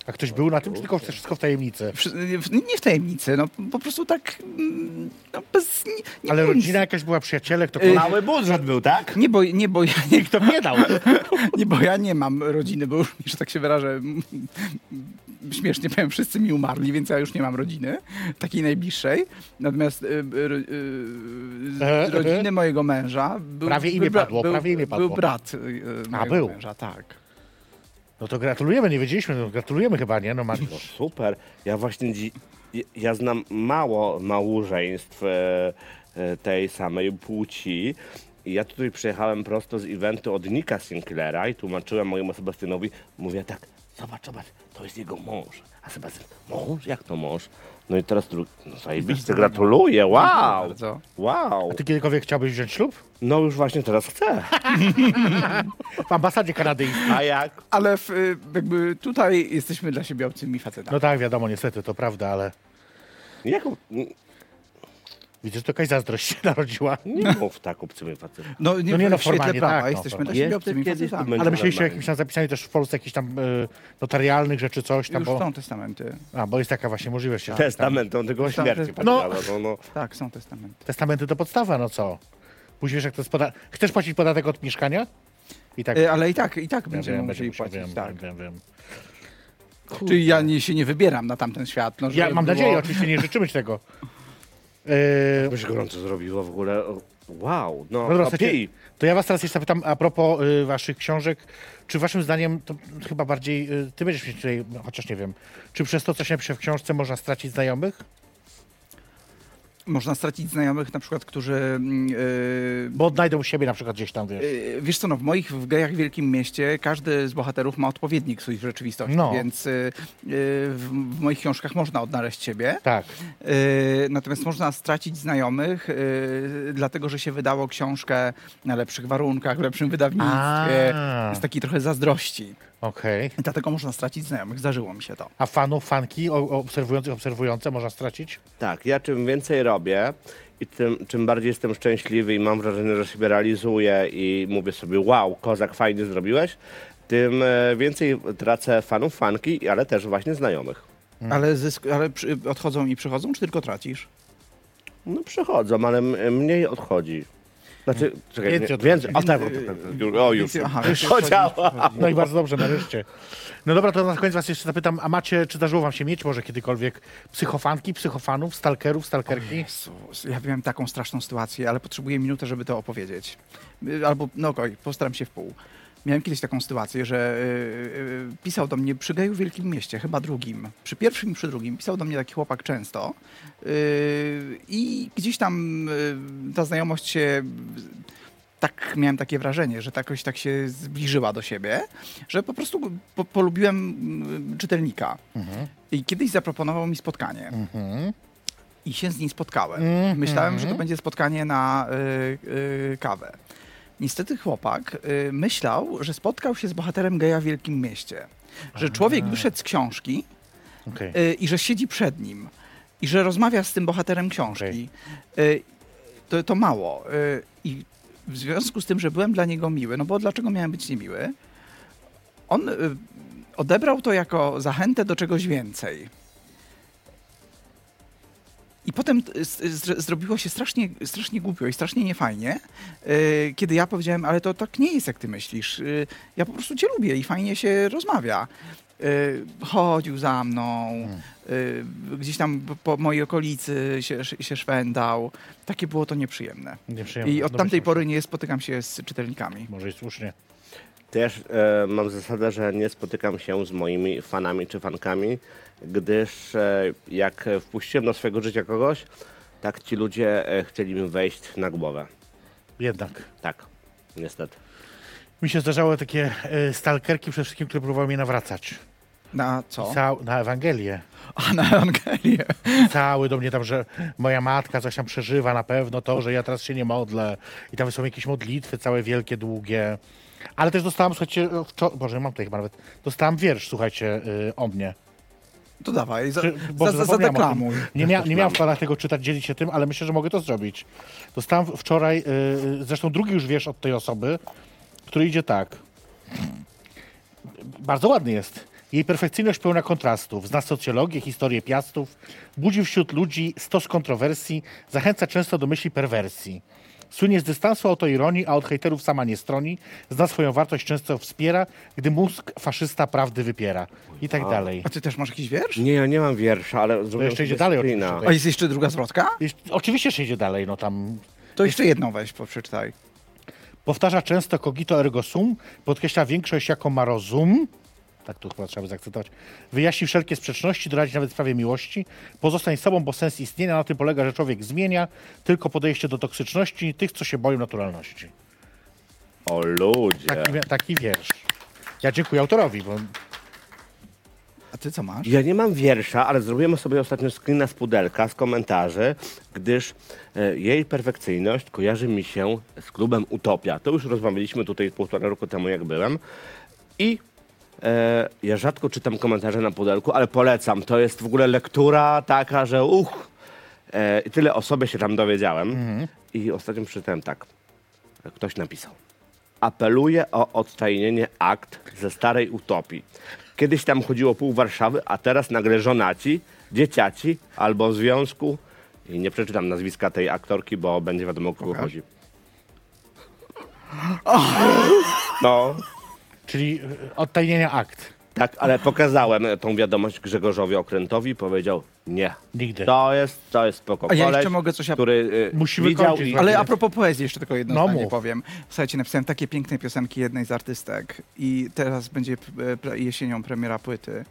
Speaker 2: A ktoś był na tym, czy tylko wszystko w tajemnicy?
Speaker 4: Wszy- w- Nie w tajemnicy, no po prostu tak, mm, no bez, nie, nie
Speaker 2: Ale
Speaker 4: mówiąc.
Speaker 2: rodzina jakaś była, przyjaciele,
Speaker 4: Y.
Speaker 2: kto...
Speaker 3: Mały budżet był, tak?
Speaker 4: Nie, bo, nie, bo ja nie,
Speaker 2: Nikt to nie dał.
Speaker 4: nie, bo ja nie mam rodziny, bo już, że tak się wyrażę, m, śmiesznie powiem, wszyscy mi umarli, więc ja już nie mam rodziny, takiej najbliższej. Natomiast y, y, y, z
Speaker 2: E, e.
Speaker 4: rodziny mojego męża był,
Speaker 2: Prawie imię
Speaker 4: był bra-
Speaker 2: padło,
Speaker 4: był,
Speaker 2: prawie imię padło.
Speaker 4: był brat y, y, mojego
Speaker 2: był.
Speaker 4: męża, tak.
Speaker 2: No to gratulujemy, nie wiedzieliśmy. No, gratulujemy chyba, nie? No Magdo.
Speaker 3: No super. Ja właśnie dzi- ja- ja znam mało małżeństw e, e, tej samej płci. I ja tutaj przyjechałem prosto z eventu od Nika Sinclaira i tłumaczyłem mojemu Sebastianowi, mówię tak, zobacz, zobacz, to jest jego mąż. A Sebastian, mąż? Jak to mąż? No i teraz drugi, no zajebiście, gratuluję, wow,
Speaker 4: bardzo.
Speaker 3: wow.
Speaker 2: Ty kiedykolwiek chciałbyś wziąć ślub?
Speaker 3: No już właśnie teraz chcę.
Speaker 2: W ambasadzie kanadyjskiej.
Speaker 3: A jak?
Speaker 4: Ale w, y, jakby tutaj jesteśmy dla siebie obcymi facetami.
Speaker 2: No tak, wiadomo, niestety, to prawda, ale
Speaker 3: Jak?
Speaker 2: widzę, że to jakaś zazdrość się narodziła.
Speaker 3: Nie mów tak obcymi facetem.
Speaker 4: No nie,
Speaker 2: No nie, no
Speaker 4: w świetle
Speaker 2: formalnie
Speaker 4: prawa
Speaker 2: tak, no,
Speaker 4: jesteśmy dla
Speaker 2: formalnie.
Speaker 4: siebie
Speaker 3: Jeszcze
Speaker 4: obcymi
Speaker 3: kiedyś to
Speaker 4: facetami.
Speaker 3: będzie.
Speaker 2: Ale myśleliście o jakimś tam zapisaniu też w Polsce jakichś tam y, notarialnych rzeczy, coś tam,
Speaker 4: Już
Speaker 2: bo,
Speaker 4: są testamenty.
Speaker 2: a, bo jest taka właśnie możliwość. że-
Speaker 3: Testament, on tylko o śmierci
Speaker 4: Testament.
Speaker 3: no. no, no.
Speaker 4: Tak, są testamenty.
Speaker 2: Testamenty to podstawa, no co? Później wiesz, jak to jest poda- Chcesz płacić podatek od mieszkania? I tak.
Speaker 4: Y, Ale i tak, i tak
Speaker 2: Ja
Speaker 4: będziemy
Speaker 2: wiem,
Speaker 4: musieli
Speaker 2: będziemy-
Speaker 4: płacić,
Speaker 2: wiem,
Speaker 4: tak.
Speaker 2: wiem, wiem.
Speaker 4: Czyli ja nie, się nie wybieram na tamten świat. No,
Speaker 2: Ja
Speaker 4: żeby
Speaker 2: mam
Speaker 4: było-
Speaker 2: nadzieję, oczywiście nie życzymy ci tego. Yy,
Speaker 3: Bo się gorąco zrobiło w ogóle. O, Wow, no,
Speaker 2: no dobra,
Speaker 3: no
Speaker 2: słuchajcie, to ja was teraz jeszcze zapytam a propos y, waszych książek. Czy waszym zdaniem, to chyba bardziej, y, ty będziesz mieć tutaj, no, chociaż nie wiem, czy przez to, co się napisze w książce, można stracić znajomych?
Speaker 4: Można stracić znajomych, na przykład, którzy. mm, y,
Speaker 2: Bo odnajdą siebie na przykład gdzieś tam, wiesz.
Speaker 4: y, Wiesz co, no w moich, w gejach w Wielkim Mieście każdy z bohaterów ma odpowiednik swoich rzeczywistości,
Speaker 2: No.
Speaker 4: więc y, y, w, w moich książkach można odnaleźć siebie,
Speaker 2: Tak.
Speaker 4: y, natomiast można stracić znajomych, y, dlatego że się wydało książkę na lepszych warunkach, w lepszym wydawnictwie,
Speaker 2: A.
Speaker 4: z takiej trochę zazdrości.
Speaker 2: Okej.
Speaker 4: I Dlatego można stracić znajomych, zdarzyło mi się to.
Speaker 2: A fanów, fanki, o- o- obserwujących, obserwujące można stracić?
Speaker 3: Tak, ja czym więcej robię i tym, czym bardziej jestem szczęśliwy i mam wrażenie, że siebie realizuję i mówię sobie, wow, kozak, fajnie zrobiłeś, tym e, więcej tracę fanów, fanki, ale też właśnie znajomych.
Speaker 4: Ale, zysk- ale przy- odchodzą i przychodzą, czy tylko tracisz?
Speaker 3: No przychodzą, ale m- mniej odchodzi. Znaczy, czekaj,
Speaker 2: Więcej
Speaker 3: nie,
Speaker 2: odchodzi.
Speaker 3: więcej, o, tak, o już,
Speaker 4: Aha,
Speaker 3: już podziała.
Speaker 2: No i bardzo dobrze, nareszcie. No dobra, to na koniec was jeszcze zapytam, a macie, czy zdarzyło wam się mieć może kiedykolwiek psychofanki, psychofanów, stalkerów, stalkerki?
Speaker 4: Jezus, ja miałem taką straszną sytuację, ale potrzebuję minutę, żeby to opowiedzieć. Y, Albo, no okej, postaram się w pół. Miałem kiedyś taką sytuację, że y, y, pisał do mnie przy geju w Wielkim Mieście, chyba drugim, przy pierwszym i przy drugim, pisał do mnie taki chłopak często y, i gdzieś tam y, ta znajomość się, tak miałem takie wrażenie, że jakoś tak się zbliżyła do siebie, że po prostu go- po, polubiłem y, czytelnika. I kiedyś zaproponował mi spotkanie i się z nim spotkałem. Myślałem, że to będzie spotkanie na y, y, kawę. Niestety chłopak y, myślał, że spotkał się z bohaterem geja w Wielkim Mieście. Że człowiek wyszedł z książki
Speaker 2: Okej.
Speaker 4: y, i że siedzi przed nim. I że rozmawia z tym bohaterem książki. Y, to, to mało. Y, I w związku z tym, że byłem dla niego miły, no bo dlaczego miałem być niemiły? On y, odebrał to jako zachętę do czegoś więcej. I potem t- s- zr- zrobiło się strasznie, strasznie głupio i strasznie niefajnie, y, kiedy ja powiedziałem, ale to tak nie jest, jak ty myślisz. Y, Ja po prostu cię lubię i fajnie się rozmawia. Y, Chodził za mną, y, gdzieś tam po- po mojej okolicy się, się szwendał. Takie było to nieprzyjemne.
Speaker 2: Nieprzyjemne.
Speaker 4: I od
Speaker 2: No
Speaker 4: tamtej
Speaker 2: myślę,
Speaker 4: pory nie spotykam się z czytelnikami.
Speaker 2: że Może i słusznie.
Speaker 3: Też e, mam zasadę, że nie spotykam się z moimi fanami czy fankami, gdyż e, jak wpuściłem do swojego życia kogoś, tak ci ludzie e, chcieli mi wejść na głowę.
Speaker 2: Jednak.
Speaker 3: Tak, niestety.
Speaker 2: Mi się zdarzały takie y, stalkerki przede wszystkim, które próbowały mnie nawracać.
Speaker 4: Na co?
Speaker 2: Cał, na Ewangelię.
Speaker 4: A na Ewangelię.
Speaker 2: Cały do mnie tam, że moja matka coś tam przeżywa na pewno, to, że ja teraz się nie modlę. I tam są jakieś modlitwy całe wielkie, długie. Ale też dostałam, słuchajcie, wczor- Boże, mam tutaj chyba nawet. Dostałam wiersz, słuchajcie, y, o mnie.
Speaker 4: To dawaj, za,
Speaker 2: Czy-
Speaker 4: za,
Speaker 2: Boże,
Speaker 4: za,
Speaker 2: zapomniałem o tym.
Speaker 4: zadeklamuj.
Speaker 2: Nie, mia, nie miałem w planach tego czytać, dzielić się tym, ale myślę, że mogę to zrobić. Dostałem wczoraj, yy, zresztą drugi już wiesz od tej osoby, który idzie tak. Bardzo ładny jest. Jej perfekcyjność pełna kontrastów. Zna socjologię, historię piastów. Budzi wśród ludzi stos kontrowersji. Zachęca często do myśli perwersji. Słynie z dystansu autoironii, a od hejterów sama nie stroni. Zna swoją wartość, często wspiera, gdy mózg faszysta prawdy wypiera. I tak dalej.
Speaker 4: A ty też masz jakiś wiersz?
Speaker 3: Nie, ja nie mam wiersza, ale zrobię
Speaker 2: jeszcze
Speaker 3: sobie
Speaker 2: idzie dalej
Speaker 3: screena.
Speaker 2: oczywiście,
Speaker 4: A jest jeszcze druga zwrotka?
Speaker 2: Jest, oczywiście się idzie dalej, no tam.
Speaker 4: To jeszcze jedną weź, poprzeczytaj.
Speaker 2: Powtarza często cogito ergo sum, podkreśla większość jako ma rozum. Tak tu chyba trzeba by zaakcentować. Wyjaśni wszelkie sprzeczności, doradzi nawet w sprawie miłości. Pozostań sobą, bo sens istnienia na tym polega, że człowiek zmienia tylko podejście do toksyczności tych, co się boją naturalności.
Speaker 3: O ludzie.
Speaker 2: Taki, taki wiersz. Ja dziękuję autorowi, bo
Speaker 4: A ty co masz?
Speaker 3: Ja nie mam wiersza, ale zrobiłem sobie ostatnio screena z pudelka, z komentarzy, gdyż e, jej perfekcyjność kojarzy mi się z klubem Utopia. To już rozmawialiśmy tutaj półtora roku temu, jak byłem. I e, ja rzadko czytam komentarze na pudelku, ale polecam. To jest w ogóle lektura taka, że uch. E, I tyle o sobie się tam dowiedziałem. I ostatnio przeczytałem tak. Ktoś napisał. Apeluję o odtajnienie akt ze starej utopii. Kiedyś tam chodziło pół Warszawy, a teraz nagle żonaci, dzieciaci albo w związku. I nie przeczytam nazwiska tej aktorki, bo będzie wiadomo o kogo chodzi. No,
Speaker 2: czyli y, odtajnienia akt.
Speaker 3: tak, ale pokazałem tą wiadomość Grzegorzowi Okrętowi, powiedział nie.
Speaker 2: Nigdy.
Speaker 3: To jest, to jest spoko.
Speaker 4: A ja
Speaker 3: koleś,
Speaker 4: jeszcze mogę coś ap-
Speaker 3: który y,
Speaker 2: Musimy
Speaker 3: widział
Speaker 2: kończyć,
Speaker 3: i-
Speaker 2: tak
Speaker 4: Ale a
Speaker 2: jest.
Speaker 4: propos poezji jeszcze tylko jedno
Speaker 2: No
Speaker 4: zdanie
Speaker 2: mów.
Speaker 4: powiem. Słuchajcie, napisałem takie piękne piosenki jednej z artystek i teraz będzie p- e, pre- jesienią premiera płyty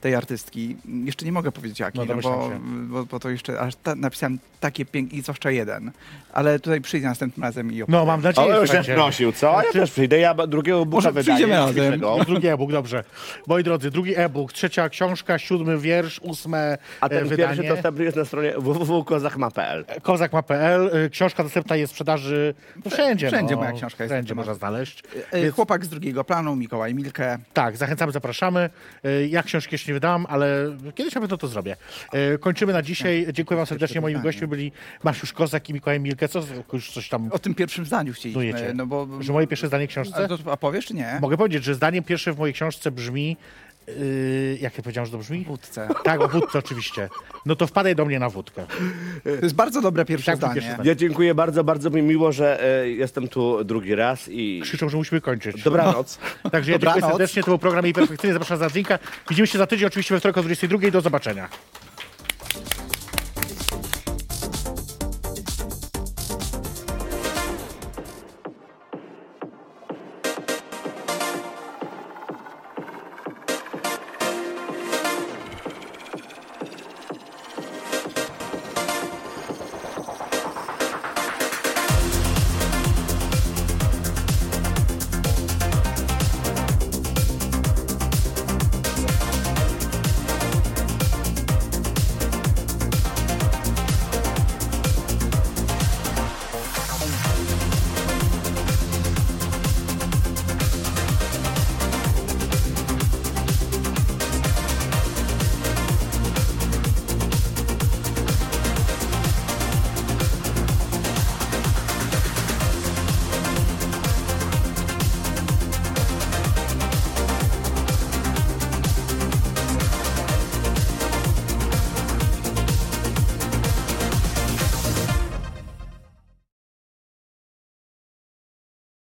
Speaker 4: tej artystki. Jeszcze nie mogę powiedzieć jakiej,
Speaker 2: No,
Speaker 4: no,
Speaker 2: domyślam
Speaker 4: bo,
Speaker 2: się.
Speaker 4: bo, bo to jeszcze aż ta, napisałem takie piękne, i zwłaszcza jeden. Ale tutaj przyjdę następnym razem i opowiem.
Speaker 2: No, mam
Speaker 3: O,
Speaker 2: nadzieję,
Speaker 3: już się
Speaker 2: słuchajcie.
Speaker 3: prosił, co?
Speaker 2: Znaczy-
Speaker 3: Ja też przyjdę, ja drugiego buka
Speaker 4: Może
Speaker 3: wydaję.
Speaker 4: przyjdziemy razem.
Speaker 3: dzisiejszego.
Speaker 2: No, drugi e-book, dobrze. Moi drodzy, drugi e-book, trzecia książka, siódmy wiersz, ósme
Speaker 3: A
Speaker 2: e,
Speaker 3: ten
Speaker 2: wydanie.
Speaker 3: pierwszy dostępny jest na stronie www.kozachma.pl.
Speaker 2: Kozak.pl. y, Książka dostępna jest w sprzedaży no, wszędzie.
Speaker 4: wszędzie
Speaker 2: no,
Speaker 4: moja książka jest
Speaker 2: Wszędzie
Speaker 4: dostępna.
Speaker 2: można znaleźć.
Speaker 4: E,
Speaker 2: Więc,
Speaker 4: Chłopak z drugiego planu, Mikołaj Milke.
Speaker 2: tak, zachęcamy, zapraszamy. Y, Ja książki jeszcze nie wydałam, ale kiedyś na pewno to zrobię. Y, Kończymy na dzisiaj. Dziękuję wam serdecznie. Moimi
Speaker 4: Tak. pytanie.
Speaker 2: gośćmi byli Mariusz Kozak i Mikołaj Milke. Co już coś tam
Speaker 4: O tym pierwszym zdaniu chcieliśmy.
Speaker 2: nujecie?
Speaker 4: No bo,
Speaker 2: Że moje pierwsze zdanie w książce?
Speaker 4: a, to, a powiesz czy nie?
Speaker 2: Mogę powiedzieć, że zdanie pierwsze w mojej książce brzmi... y, jak ja powiedziałem, że to brzmi?
Speaker 4: Wódce.
Speaker 2: Tak, o wódce oczywiście. No to wpadaj do mnie na wódkę.
Speaker 4: To jest bardzo dobre pierwsze
Speaker 2: Tak, to
Speaker 4: zdanie.
Speaker 2: pierwsze zdanie.
Speaker 3: Ja dziękuję bardzo, bardzo mi miło, że e, jestem tu drugi raz i
Speaker 2: Krzyczą, że musimy kończyć.
Speaker 3: dobranoc.
Speaker 2: Także ja dziękuję
Speaker 4: Dobranoc.
Speaker 2: serdecznie. To był program Jej Perfekcyjny. Zapraszam za drinka. Widzimy się za tydzień, oczywiście we wtorek o 22.00. Do zobaczenia.